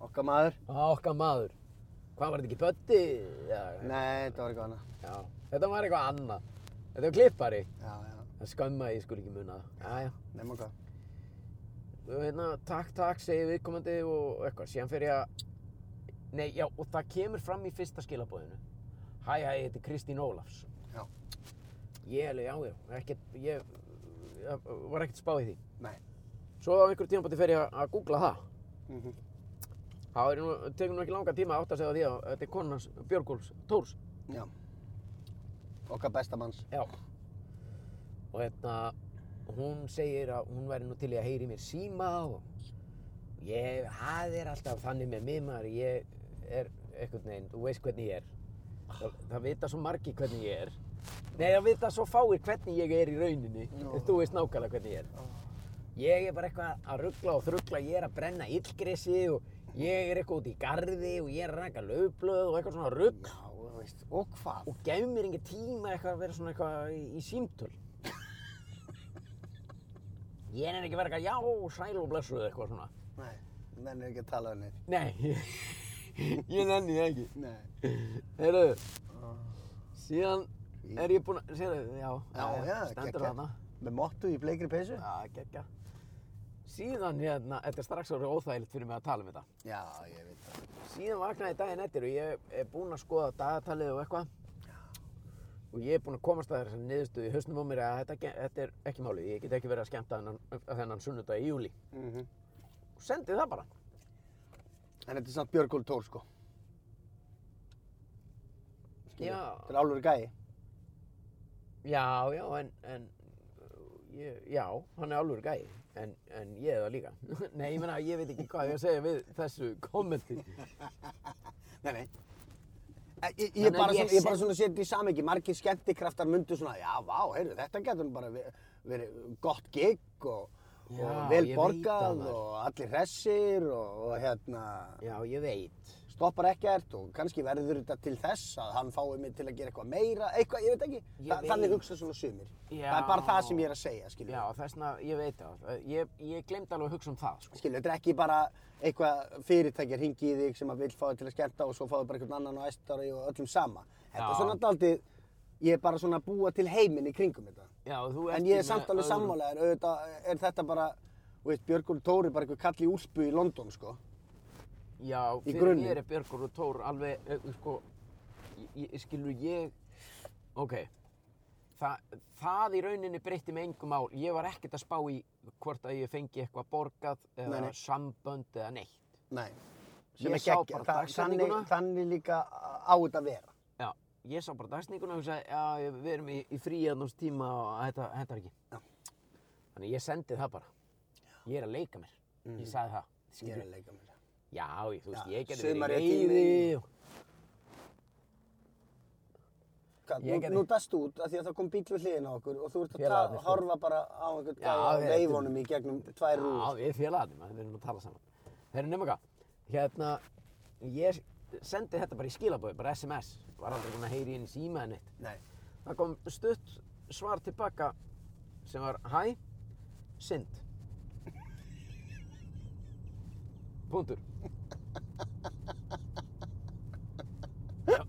okkar maður.
Okkar maður. Hvað var þetta ekki Böddi? Já,
Nei, þetta var eitthvað annað.
já. Þetta var eitthvað annað. Þetta var klippari.
Já, já.
Það skömma að ég skuli ekki muna það. Jæja.
Nefnum hvað.
Og Hérna, takk, takk, segir viðkomandi og eitthvað. Síðan fer ég að... Nei, já, og það kemur fram í fyrsta skilabóðinu. Hæ, hæ, ég heiti Kristín Ólafs.
Já.
Ég, alveg, já, já, ekkert, ég, ég var ekkert spáð í því.
Nei.
Svo á einhverjum tímabóti fer ég að- að googla það.
Mhm.
þá er nú, tekur nú ekki langa tíma að átta sig á því að þetta er konans Björgúls Tórs.
Já. Okkar besta manns.
Já. Og hérna, hún segir að hún væri nú til í að heyri mér síma og ég, það er alltaf þannig með mig maður, ég er einhvern veginn, þú veist hvernig ég er. Það, það vita svo margi hvernig ég er. Nei, það vita svo fáir hvernig ég er í rauninni, en þú veist nákvæmlega hvernig ég er. Ég er bara eitthvað að ruggla og þruggla, ég er að brenna illgresi og ég er eitthvað út í garði og ég er að ræka löfblöð og eitthvað svona rugg
Já, þú veist. Og hvað?
og gef mér engin tíma eitthvað að vera svona eitthvað í, í símtöl. Ég er ekki að vera eitthvað já, sæl og blessuð eitthvað svona.
Nei, menn er ekki að tala um neitt.
Nei, ég nenni það ekki.
Nei.
Heyrðu, síðan er ég búinn að, sérðu, já, eh,
Já, já,
stendur
geggjað.
þarna.
Með mottu í bleikri peysu?
Já, geggja. Síðan hérna, þetta er strax orðið óþægilegt fyrir mig að tala um þetta.
Já, ég veit það.
Síðan vaknaði ég daginn eftir og ég er búinn að skoða dagatalið og eitthvað. Og ég er búinn að komast að þessari niðurstöðu í hausnum á mér að þetta, ge- þetta er ekki málið. Ég get ekki verið að skemmta þennan, þennan sunnudag í júli. Og sendi það bara.
Mhm. En þetta er samt Björgúl Tór, sko. Skilur.
Já.
Þetta er álur gæi.
Já, já, en, en uh, ég, já, hann er alveg gæi. En, en ég er það líka. Nei, ég meina, ég veit ekki hvað ég á að segja við þessu kommenti.
Nei, nei. Ég, ég,
Þannig
ég,
að
bara,
ég
svona, ég
set-
bara svona seti í samingi, margir skemmtikraftar myndu svona, já, vá, heyrðu, þetta getur nú bara ve- verið gott gig og,
Já,
og vel
ég veit það,
borgað
maður.
og allir hressir og, og hérna,
Já, ég veit.
stoppar ekkert og kannski verður þetta til þess að hann fái mig til að gera eitthvað meira, eitthvað, ég veit ekki.
Ég
Þa,
veit.
Þannig hugsa svona sumir.
Já.
Það er bara það sem ég er að segja, skilju.
Já, þessna, ég veit það. Ég, ég glemd alveg að hugsa um það, sko.
Skilju, þetta er ekki bara eitthvað fyrirtækja ringi í þig sem að vil fá þig til að skemmta og svo fá þig bara einhvern annan og æstar og öllum sama. Þetta
Já.
er svona daldið, ég er bara svona að búa til heiminn í kringum þetta.
Já, þú ert í
En ég er
með
samt alveg
öðrum-
sammálaður, auðvitað er þetta bara, þú veist, Björgur Tóri er bara einhver kall í úlpu í London, sko.
Já,
í
fyrir
grunninn.
mér er Björgur og Tór alveg, eh, sko, ég, ég skilur ég, ok, Þa, það í rauninni breytti mig engum ál, ég var ekkert að spá í hvort að ég fengi eitthvað borgað eða
Nei, nei.
sambönd eða neitt.
Nei.
Ég
er
sá
geggjað.
bara
Það- þannig,
dagsetninguna.
þannig líka á þetta að vera.
Já, ég sá bara dagsninguna og hugsaði, já, ég- við erum í, í fríðanums tíma og þetta hentar ekki.
Já.
Þannig ég sendi það bara, ég er að leika mér, ég sagði það,
Mm. Ég er
skilur,
að leika með þetta.
já, ég, þú veist,
Já,
ég gerði verið í
sumarið tími.
veiði og...
Hvað,
Ég
nú,
gerði-
nú dast út af því að það kom bíl við hliðina á okkur og þú ert að
Félagarnir,
ta-
sko.
horfa bara á einhvern
Já,
gæja
þetta-
veifunum í gegnum tvær rúður.
Já, við félagarnir, maður, við erum að tala saman. Herru, nema hvað, hérna, ég sendi þetta bara í skilabóði, bara SMS, var aldrei búinn að heyri inn í síma en eitt.
Nei.
Það kom stutt svar tilbaka sem var, hæ, synd. Punktur. Já.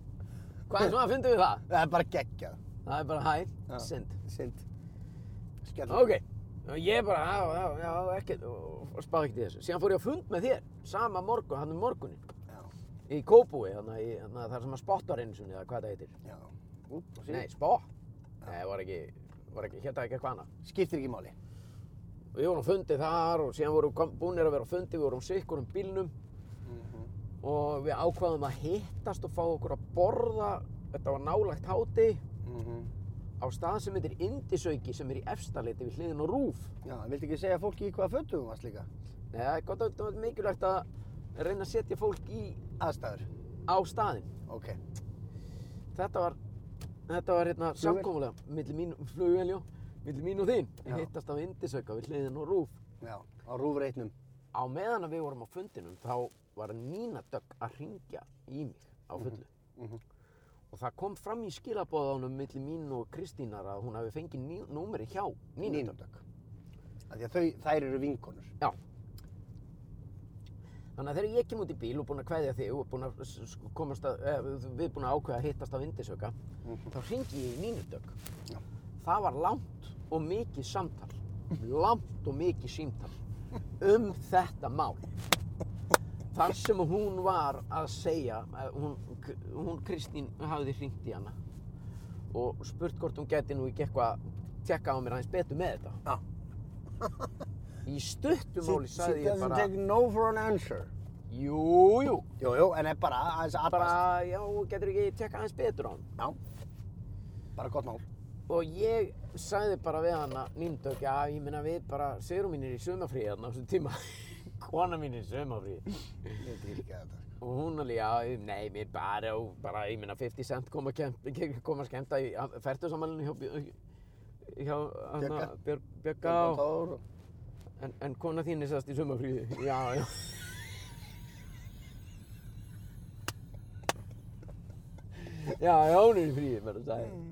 Hvað er svona að fyndum við það?
Það er bara geggjað.
Það er bara, hæ,
Já.
synd.
Sind. Skellur.
Ok, og ég bara, já, já, já, ekki, spáði ekkert í þessu. Síðan fór ég á fund með þér, sama morgun, hann um morgunin,
Já,
í Kópúi, þannig að ég- þarna þar sem að spott var einu sinni, eða hvað það heitir.
já. Ú, og
Nei,
síðan.
spott? Nei, var ekki, var ekki, hérna ekki eitthvað annað.
Skiptir ekki máli.
Og Við vorum á fundi þar og síðan vorum kom- búnir að vera á fundi, við vorum sikkur um bílnum og við ákvaðum að hittast og fá okkur að borða, þetta var nálægt háti,
Mhm.
á stað sem heitir Indisauki sem er í efstaleiti við hliðin og rúf.
Já, en viltu ekki segja fólki í hvaða fötum þú varst líka?
Nei, það er gott að það er mikilvægt að reyna að setja fólk í
Aðstæður.
á staðinn.
Ok.
Þetta var, þetta var hérna
Flugvél?
samkomulega, milli mín, flugvéljó, milli mín og þín.
Já.
Við hittast á Indisauka við hliðin og rúf.
Já, á rúfreitnum.
Á meðan að við vorum á fundinum þá var Nína Dögg að ringja í mig á
Mhm.
fullu. Og það kom fram í skilabóðanum milli mín og Kristínar að hún hafi fengið ný, númeri hjá Nína Dögg.
Nínundök. Af því að þau, þær eru vinkonur.
Já. Þannig að þegar ég kem út í bíl og búinn að kveðja þig og búinn að s- s- komast að, eh, við búinn að ákveða að hittast á vindisöka, þá hringi ég í mínudögg.
Já.
Það var langt og mikið samtal, langt og mikið símtal um þetta mál. Þar sem hún var að segja, eh, hún, hún Kristín hafði hringt í hana og spurt hvort hún gæti nú ekki eitthvað tjekka á mér aðeins betur með þetta.
Já.
Í stuttum máli sagði ég bara...
She doesn't take no for an answer.
Jú, jú,
Jú, jú, en er bara aðeins
bara,
aðbast.
já, getur ekki tekka aðeins betur á hann.
Bara gott mál.
Og ég sagði bara við hana, Nýndök, já, ég meina við bara, Sigrún mín er í sömafríði þarna á þessum tíma. Kona mín er í sömafríði.
Ég dýr ekki þetta. sko.
Og hún alveg, já, nei, mér bara, og bara, ég meina, 50 cent kom að, kem, kom að skemmta í færtusamælinu hjá, Björ- hjá, hana,
Björga.
Björg, Björga
Gá.
og, en, en kona þín er sérst í sumafríði, já, já. Já, já, hún er í fríði, verður það.
Mhm.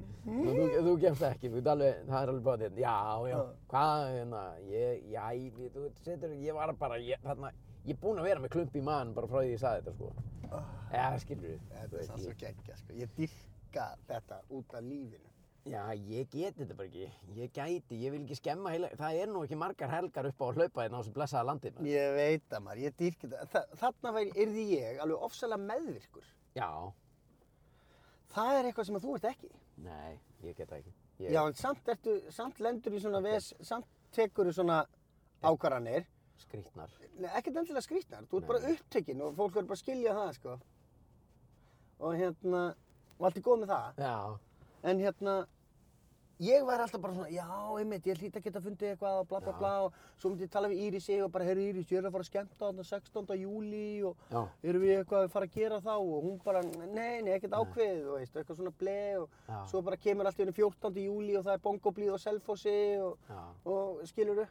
Þú, þú, þú gefst ekki, þú ert alveg, það er alveg báðið hérna. Já, já,
Já.
hvað, hérna, ég, já, ég, þú setur, ég var bara, ég, þarna, ég er búinn að vera með klump í maðan bara frá því ég sagði þetta, sko. Já, skilur við.
Ah. Þetta er sann svo geggja, sko. Ég dýrka þetta út af lífinu.
Já, ég geti þetta bara ekki. Ég gæti, ég vil ekki skemma heila, það er nú ekki margar helgar upp á að hlaupa hérna á þessu blessaða landi, maður.
Ég veit það maður, ég dýrka þetta. Þa, þarna væri, yrði ég alveg ofsalega meðvirkur.
Já,
Það er eitthvað sem að þú ert ekki.
nei, ég get það ekki. Ég,
Já, en samt, ertu, samt lendur í svona ves, samt tekur í svona ákvarðanir.
Skrýtnar.
Nei, ekkert endilega skrýtnar, þú ert
Nei.
bara upptekinn og fólk verður bara að skilja það, sko. Og hérna, og allt er góð með það.
Já,
En hérna, ég var alltaf bara svona, já, einmitt, ég hlýt að geta fundið eitthvað og bla bla
Já.
bla og svo myndi ég tala við Írisi og bara, herru Íris, ég er að fara að skemmta þarna 16. júli og
já,
erum við eitthvað að fara að gera þá og hún bara, nei, nei, ekkert ákveðið, þú veist, og eitthvað svona ble og
Já.
svo bara kemur allt í henni 14. júli og það er bongoblíð og selfossi og,
já.
og skilur við.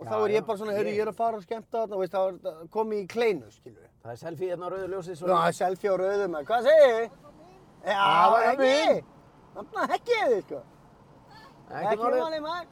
Og
Já,
þá er
já,
ég bara svona, herru,
ég-
ég er að fara að skemmta þarna, þú veist, þá er þetta komið í kleinu, skilur við.
Það er selfie hérna á rauðu ljósið svo.
Já, selfie á rauðum, en hvað segir þið? Já,
Það var
ekki!
mín.
Þannig að ekki þið, sko.
ekki málið.
máli maður.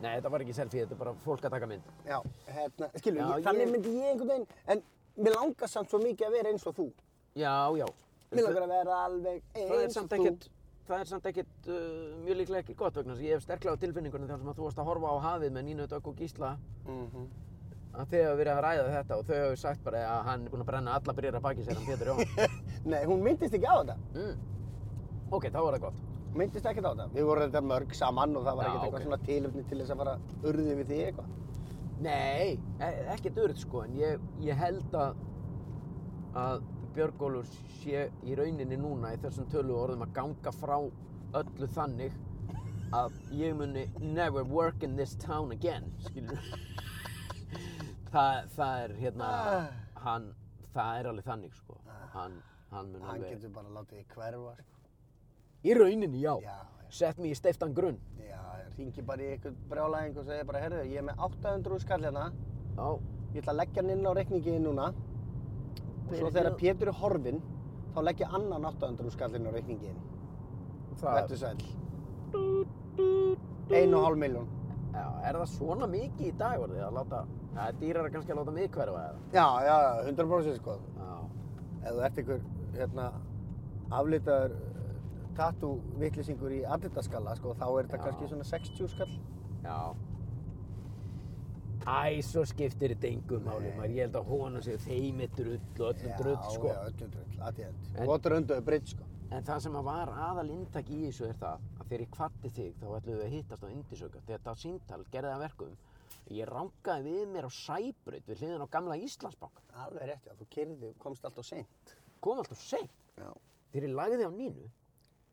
Nei, þetta var ekki selfie, þetta er bara fólk að taka mynd.
Já, hérna, skilur,
Já,
ég, þannig
ég-
myndi ég einhvern veginn, en mér langar samt svo mikið að vera eins og þú.
Já, já.
Mér langar að vera alveg eins og þú.
það er samt ekkert, það er samt ekkert uh, mjög líklega ekki gott vegna þess að ég hef sterklega á tilfinningunni þar sem að þú varst að horfa á hafið með Nínu Dögg og Gísla
Mhm.
að þau hafa verið að ræða þetta og þau hafa sagt bara að hann er búinn að brenna alla brýra baki sér hann Pétur Jón.
Nei, hún myndist ekki á þetta.
mm. Ok, þá var það gott.
Myndist ekkert á þetta. Við vorum þetta mörg saman og það var
Já,
ekkert
ok.
eitthvað svona tilöfni til þess að fara að urði við þig eitthvað.
Nei, e ekkert urð sko en ég, ég held að að Björgólfur sé í rauninni núna í þessum tölu orðum að ganga frá öllu þannig að ég muni never work in this town again skilur það, það er hérna
Ah.
hann, það er alveg þannig sko hann, hann mun
Hann
alveg
getur bara látið þig hverfa, sko.
í rauninni já,
Já, já.
sett mér í steiftan grunn
Já, ringi bara í eitthvað brjálæðing og segja bara, herðu, ég er með 800 skall hérna,
já, og
ég ætla að leggja hann inn á reikningin núna og svo þegar Pétur er horfinn, þá leggja annan 800 skallin á reikningin.
það,
Vertu sæl. Ein og hálf miljón.
já, er það svona mikið í dag orðið að láta það er dýrar að kannski að láta mig hverfa eða
Já, já, já, 100% sko.
já,
Ef þú ert einhver, hérna, aflitaður eh, tattoo vittlisingur í adlitaskalla, sko, þá er þetta
Já.
kannski svona 60 skall.
Já. Æ, svo skiptir þetta engum máli, maður. Ég held að honum séu þeimi drull og öllum drull, sko.
Já, já, öllum drull, aðtíðend.
En-
Og drönduðu britt, sko.
En það sem að var aðal intak í þessu er það að þegar ég kvatti þig þá ætlum við að hittast á Indisauka. Þetta síntal gerði það að verkum. Ég rankaði við mér á Sæbraut við hliðin á gamla Íslandsbanka.
Alveg rétt, já, þú kyrði, komst alltaf seint.
Kom alltaf seint.
Já.
Þegar ég lagði á nínu,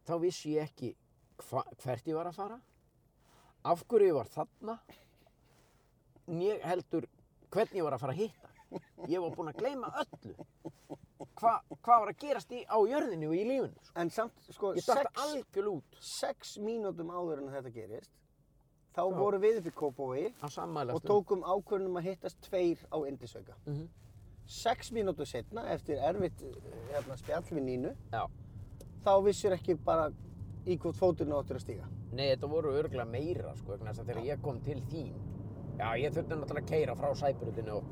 þá vissi ég ekki hva, hvert ég var að fara, af hverju ég var þarna, né heldur hvernig ég var að fara að hitta. Ég var búinn að gleyma öllu. Hva, hvað var að gerast í, á jörðinu og í lífinu? Sko.
En samt, sko,
Ég dætti
sex-
algjörl út
sex mínútum áður en þetta gerist þá vorum við upp í Kópavogi
á um-
og
sammælastum.
tókum ákvörðunum að hittast tveir á Indisauka.
Mhm.
Sex mínútur setna, eftir erfitt eh, hérna, spjall við Nínu,
Já.
þá vissir ekki bara í hvort fóturinn áttur að stíga.
Nei, þetta voru örgulega meira, sko, vegna þess að þegar ég kom til þín. Já, ég þurfti náttúrulega að keyra frá Sæbrutinu og...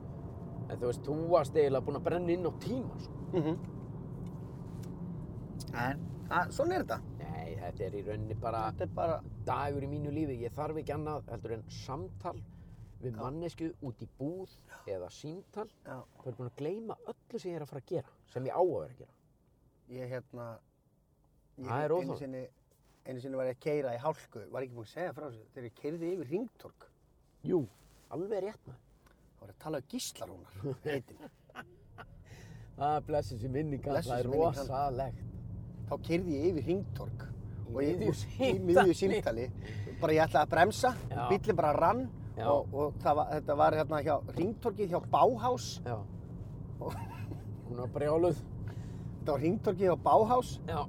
En þú veist, þú varst eiginlega búinn að brenna inn á tíma, sko.
En? A, svona er þetta.
Nei, þetta er í rauninni bara
Þetta er bara,
dagur í mínu lífi. Ég þarf ekki annað heldur en samtal við mannesku út í búð eða símtal.
já,
Þú er búinn að gleyma öllu sem ég er að fara að gera, sem ég á að vera að gera.
ég hérna, ég
Það er
einu
óþolandi.
sinni, einu sinni var ég að keira í hálku, var ekki búinn að segja frá þessu, þegar ég keirði yfir Ringtorg,
Jú, alveg rétt maður.
þá var ég að tala um gíslarúnar, heitin.
Það blessið sér minni kann,
Blessuð
það er
sé minning hans.
rosalegt.
Þá keyrði ég yfir hringtorg og ég,
miðju
í miðju símtali, bara ég ætlaði að bremsa,
Já.
bíllinn bara rann
Já.
og, og það var, þetta var hérna hjá hringtorgið hjá Bauhaus,
Já. Hún var brjáluð.
þetta var hringtorgið hjá Bauhaus
Já,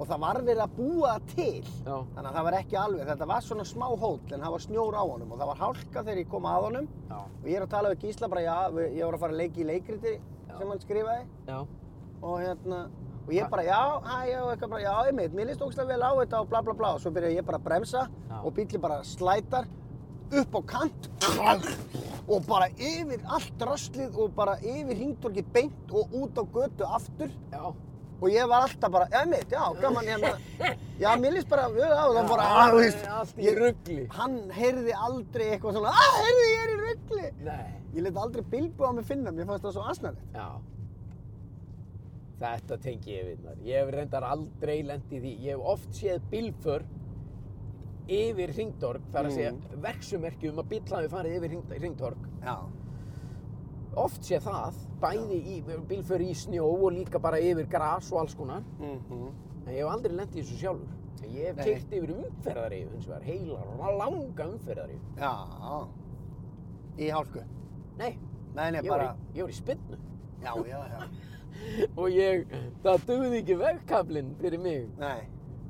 og það var verið að búa það til.
já,
Þannig að það var ekki alveg, þetta var svona smá hóll en það var snjór á honum og það var hálka þegar ég kom að honum
já,
og ég er að tala við Gísla bara, já, við- ég var að fara að leiki í leikriti
Já.
sem hann skrifaði
já.
og hérna og ég bara, já, hæ, já, eitthvað bara, já, einmitt, mér líst ógstlega vel á þetta og bla bla bla og svo byrja ég bara að bremsa
Já.
og bíllinn bara slætar upp á kant og bara yfir allt raslið og bara yfir hringdorkið beint og út á götu aftur
já.
og ég var alltaf bara, einmitt, já, gaman hérna já, mér líst bara, vel á, og það bara, að, þú veist
Allt í
ég-
ruggli.
hann heyrði aldrei eitthvað svona að, heyrði, ég er í ruggli
Nei,
ég let aldrei bilbu á mig finna, mér fannst það svo asnalegt
já. Þetta tengi ég við þar. Ég hef reyndar aldrei lent í því. Ég hef oft séð bílför yfir hringdorg, þar að
Mm.
segja verksummerki um að bíll hafi farið yfir hring- hringdorg.
já,
Oft sé það, bæði í, bílför í snjó og líka bara yfir gras og alls konar. En ég hef aldrei lent í þessu sjálfur. En ég hef
Nei.
keirt yfir umferðaríf, eins og það er heilar, langa umferðaríf.
já í hálku
Nei,
nei, nei,
ég var,
bara,
í, ég var í spinnu.
já, já, já
Og ég, það dugði ekki vegkaflinn fyrir mig.
nei,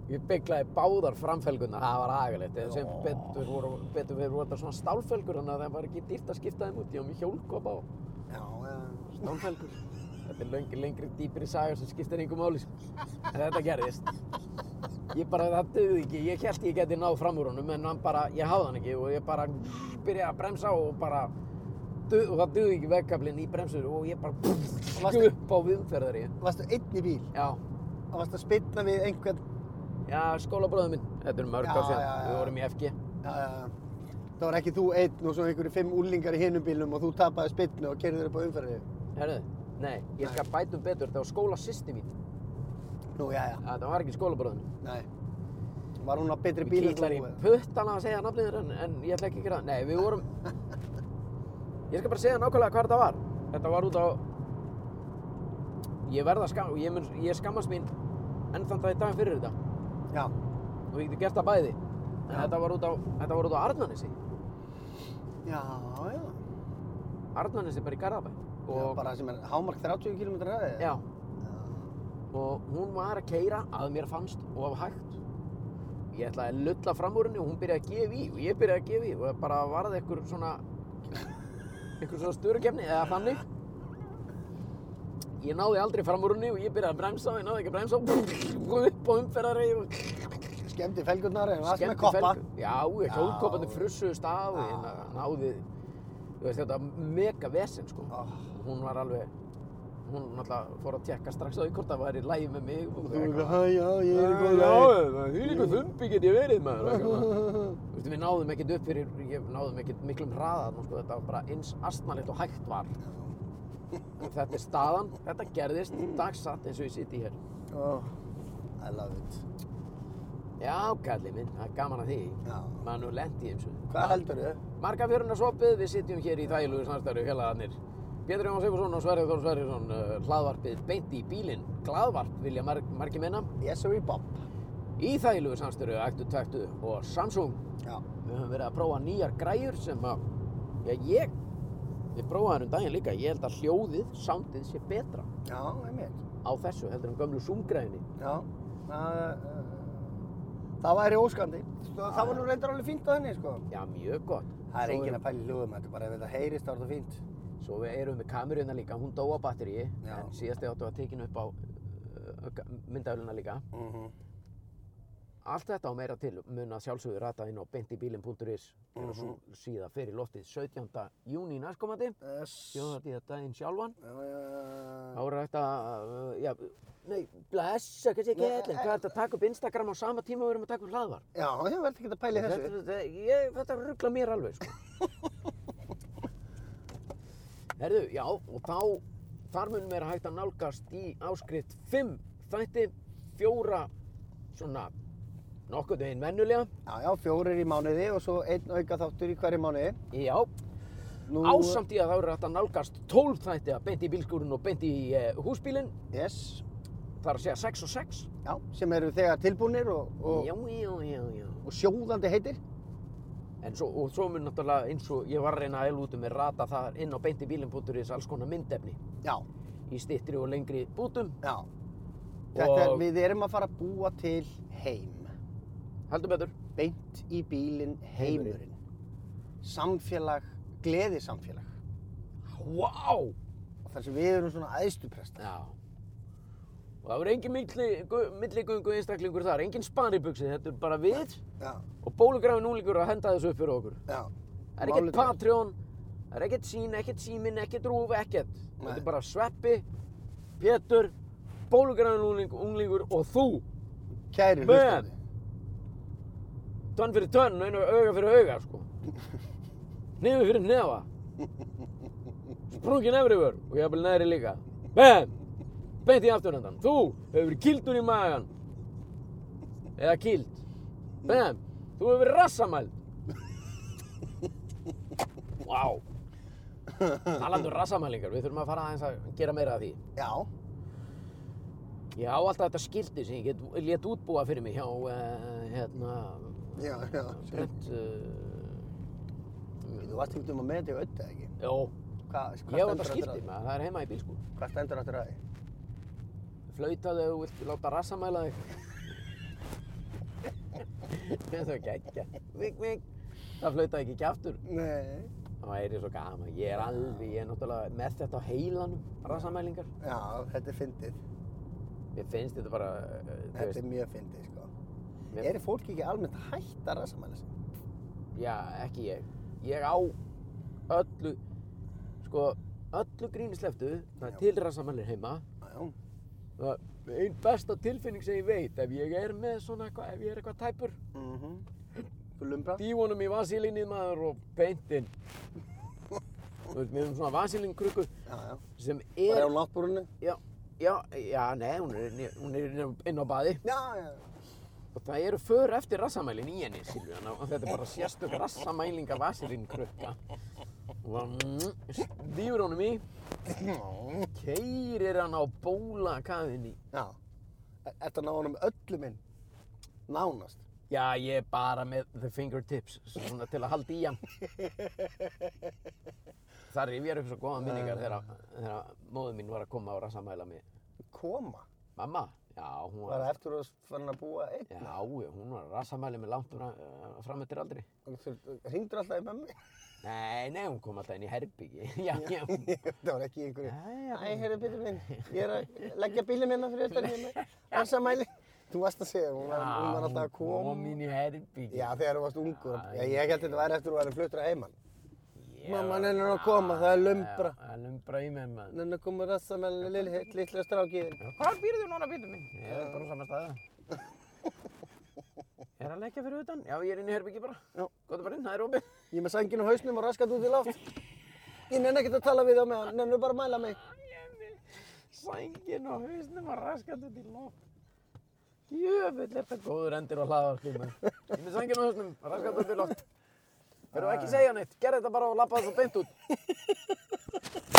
Ég beklaði báðar framfelguna, það var agalegt. En sem betur, voru, betur fyrir voru þetta svona stálfelgur, þannig að það var ekki dýrt að skipta þeim út. Ég var með hjólkopp á.
já, já, stálfelgur
Þetta er lengri, lengri, dýpri saga sem skiptir einhver máli. sko. En Þetta gerðist. Ég bara, það döði ekki. Ég held ég geti náð fram úr honum en hann bara, ég hafði hann ekki og ég bara byrjaði að bremsa og bara döð, og það döði ekki vegkaflinn í bremsur og ég bara
varstu-
upp á viðumferðar ég.
varstu einn í bíl,
Já,
og varstu að spilna við einhvern
já, skólabróður minn. Þetta er mörg
Já,
ár
já,
síðan.
já.
Við vorum í FG.
já, já, já það var ekki þú einn og svo einhverju fimm úlingar í hinum bílum og þú tapaði spilnu og kerðir upp á umferðinu
Herðu, nei, ég skal bætum betur. Það var skólasýsti mín.
nú, já, já,
Þetta var ekki skólabróður minn.
nei var hún á betri
Ég
bíl en
kýtlar í
þú eða?
puttana að segja nafnið þér en, en ég ætla ekki að gera það. Nei, við vorum... Ég skal bara segja nákvæmlega hvað þetta var. Þetta var út á... Ég verða skam... Ég, mun, ég skammast mín enn þann dag í dag fyrir þetta.
já,
Og við getum gert það bæði. En þetta var út á... Þetta var út á Arnanesi.
já, já
Arnanesi bara í Garðabæ.
Já, bara sem er hámark 30 km hraði?
Já. Og hún var að keyra að mér fannst og af hægt. Ég ætlaði að lulla fram úr henni og hún byrjaði að gefa í og ég byrjaði að gefa í og það bara varði einhver svona einhver svona störukefni eða þannig. Ég náði aldrei fram úr henni og ég byrjaði að bremsa og ég náði ekki að bremsa og upp á umferðaregi og
Skemmti felgurnar en varst með
skemmti
koppa.
felgu. Já,
Já. Ah.
hjólkoppandi frussuðust af og
Já.
ég ná- náði, þú veist þetta, mega vesen sko.
Ah.
Hún var alveg, hún náttúrulega fór að tekka strax á því hvort það væri í lægi með mig. Og
Þú veist, hæ, já, ég er í góð leið.
Já, því líka þumbi get ég verið maður. sko. eitthvað svona. Þú veist, við náðum ekkert upp fyrir, ég náðum ekkert miklum hraðan, sko, þetta var bara eins astnalegt og hægt var. En þetta er staðan, þetta gerðist, dagsatt eins og ég sitt í hér.
Oh, I love it.
Já, kallið minn, það er gaman að því.
Já.
Maður nú lent í eins og
Hvað heldur þau?
Markafjörunarsoppið, við sitjum hér í þægilegu samstarfi félagarnir. Pétur Jón Sigurðsson og Sverri Þór Sverrisson, uh, hlaðvarpið beint í bílinn, glaðvarp vilja mar margi menna.
Yes, sir, Bob.
Í þægilegu samstarfi, ættu, tættu og Samsung.
Já.
Við höfum verið að prófa nýjar græjur sem að, já ég, við prófaðum um daginn líka, ég held að hljóðið, soundið sé betra
Já, einmitt.
á þessu heldur en gömlu Zoom-græjunni.
Já. Það, uh, það væri óskandi. Sko, Það, það var nú reyndar alveg fínt á henni, sko.
Já, mjög gott.
Það er
Svo
enginn
erum-
að pæla í hljóðum, þetta er bara ef þetta heyrist þá er þetta fínt.
Svo við erum við kameruna líka, hún dó á batteríi,
Já.
en síðast eða áttu að tekinu upp á uh, myndafluna líka.
Mm
Mhm.
-hmm.
Allt þetta og meira til mun að sjálfsögðu rata inn á beintibilin.is mm
Mhm.
-hmm. svo síða fyrir loftið 17. júni næstkomandi
Yes.
þjóðartíða daginn sjálfan
Já, já, já.
þá er þetta uh, já, nei, blessa, kannski ekki allir hvað er þetta að taka upp Instagram á sama tíma og við erum að taka upp hlaðvar
Já, ég verði ekki að pæla í þessu.
þetta, þetta, ég, þetta ruggla mér alveg sko. Herðu, já, og þá þar mun vera hægt að nálgast í áskrift 5 þætti, 4 svona nokkuð veginn vennulega
Já, já, fjórir í mánuði og svo einn auka þáttur í hverju mánuði.
Já,
Nú-
Ásamt í að það verður hægt að nálgast 12 þætti að beint í bílskúrin og beint í eh, húsbílinn.
Yes.
Það er að segja 6 og 6.
Já, sem eru þegar tilbúnir og, og,
Já, já, já, já.
og sjóðandi heitir.
En svo, og svo mun náttúrulega eins og ég var að reyna að elu út um með rata það inn á beint í bílinn.is alls konar myndefni
Já,
í stittri og lengri bútum.
já. Þetta er,
Og-
við erum að fara að búa til heim.
Heldur betur.
Beint í bílinn heimurinn. Samfélag, gleðisamfélag.
Wow!
Þar sem við erum svona æðstuprestar.
Já. Og það verður engin milli- milligöngu einstaklingur þar, engin sparibuxi, þetta er bara við
Já,
og bólugrafin úlingur að henda þessu upp fyrir okkur.
já.
Það er ekkert
Málið er-
Patreon, það er ekkert sín, ekkert símin, ekkert rúf, ekkert. Þetta
Nei.
er bara sveppi, Pétur, bólugrafin úling, unglingur og þú.
Kæri
Men.
hlustandi.
Tönn fyrir tönn og einu auga fyrir auga, sko. Nefi fyrir nefa. Sprungin efri vör og jafnvel neðri líka. Bam! Beint í afturhendan. Þú hefur verið kildur í magan. Eða kild. Bam! Þú hefur verið rassamæld. Vá. Wow. Talandi um rassamælingar, við þurfum að fara aðeins að gera meira af því.
Já,
Ég á alltaf þetta skildi sem ég get, let útbúa fyrir mig hjá, uh, hérna,
já, já.
Brent, eh,
Þú varst ekkert um að með þetta í auðvitað, ekki?
já,
Hvað, hvað
ég á
stendur
þetta
aftur að-
skilti maður, það er heima í bíl sko.
Hvað stendur aftur að því?
Flautaðu ef þú vilt láta rassamæla þig. það er geggja. Vik, vik. Það flautaði ekki ekki aftur.
Nei.
Það væri svo gaman. Ég er alveg, ég er náttúrulega með þetta á heilanum, rassamælingar.
Já, þetta er fyndið.
Mér finnst þetta bara, eh, þú
Þetta
veist,
er mjög fyndið, sko.
mér,
Er fólk ekki almennt hætt að rassamæla sig?
já, ekki ég. Ég á öllu, sko, öllu grínisleftu, það
Já.
er til rassamælir heima.
Já,
Það er einn besta tilfinning sem ég veit ef ég er með svona eitthvað, ef ég er eitthvað tæpur
mhm. Þú lumbra?
dífunum í vasilínið maður og beintinn þú veist, við erum svona vasilínkrukku
Já, já.
sem
Bara
er
á náttbúrunni?
já, já, já, nei, hún er, inni- hún er inni á- inn á baði
Já, já.
og það eru för eftir rassamælin í henni Silvíu, ná- og þetta er bara sérstök rassamælinga vasilínkrukka og mm, dýfur honum í keirir hann á bólakaðinni
Já. Er- Ertu að ná honum öllum inn? Nánast.
Já, ég er bara með the fingertips, svona til að halda í hann. Það rifjar upp svo góða minningar þegar, þegar móður mín var að koma og rassamæla mig.
Koma.
Mamma? Já, hún var,
Bara eftir að fann að búa einn.
já, hún var að rassamæla mig langt fram, eh, fram eftir aldrei.
Hringdur alltaf í mömmi?
Nei, nei, hún kom alltaf inn í herbyggi. já, já, hún-
það var ekki einhverju.
Nei, já.
Æ, hérna. heyrðu, byrju minn. Ég er að leggja bílið minna fyrir utan hérna. Rassamæli. Þú varst að segja, hún var, hún var alltaf að
Hún
koma.
kom inn í herbyggi.
Já, þegar þú varst ungur.
Æ.
Já, ég held að þetta væri eftir að þú væri fluttur að heimann.
Ég
mamma,
var-
nennir að koma, það er lumbra.
Já, Það er lumbra í mér, maður.
Nenna komur rassa með lilli, lilla strákið.
Hvar býrðu núna, býrðu minn? Ég er bara á sama staði. er hann ekki fyrir utan? Já, ég er inn í herbyggi bara.
Já.
Góðu bara inn, það er opið.
Ég er með sængin á hausnum og raskat út í loft. Ég nenni ekkert að tala við þá með hann, nennu bara að mæla mig.
Sængin og hausnum og raskat út í loft. Jöfull, er þetta góður endir og hlaðar klíma. Ég er með sængin og hausnum og raskat út í loft. Fyrir þú ekki að segja neitt, gerð þetta bara og lappa þessu beint út.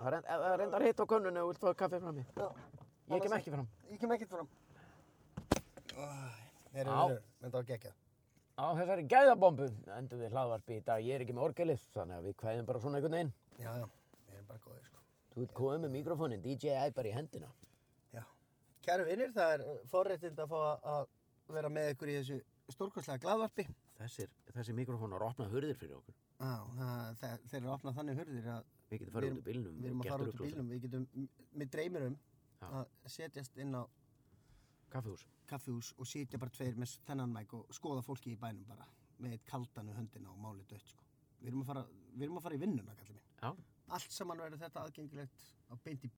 Það reynd- það reyndar hitt á könnunni og vilt fá kaffi fram í.
Já.
Ég kem ekki fram.
Ég kem ekkert fram.
Já.
Þeir eru, þetta var geggjað.
Á þessari gæðabombu endum við hlaðvarpi í dag. Ég er ekki með orgelið, þannig að við kvæðum bara svona einhvern veginn.
Já, já, við erum bara góðir sko.
Þú ert komið með mikrofónin, DJI bara í hendina.
Já. Kæru vinnir, það er forréttind að fá að- að vera með ykkur í þessu stórkostlega glaðvarpi.
Þessir, þessir mikrofónar opna hurðir fyrir okkur.
Já, það, það, þeir eru opnað þannig hurðir að
Við getum
Við
farið
erum-
út úr bílnum.
við erum
og
að
gert
fara út úr
ruglhúsið.
bílnum. Við getum, mér dreymir um
Já.
að setjast inn á
Kaffihús.
kaffihús og sitja bara tveir með þennan mæk og skoða fólki í bænum bara með eitt kaldan við höndina og máli dött sko. Við erum að fara, við erum að fara í vinnuna, kallar minn.
Já.
Allt saman verður þetta aðgengilegt á beint í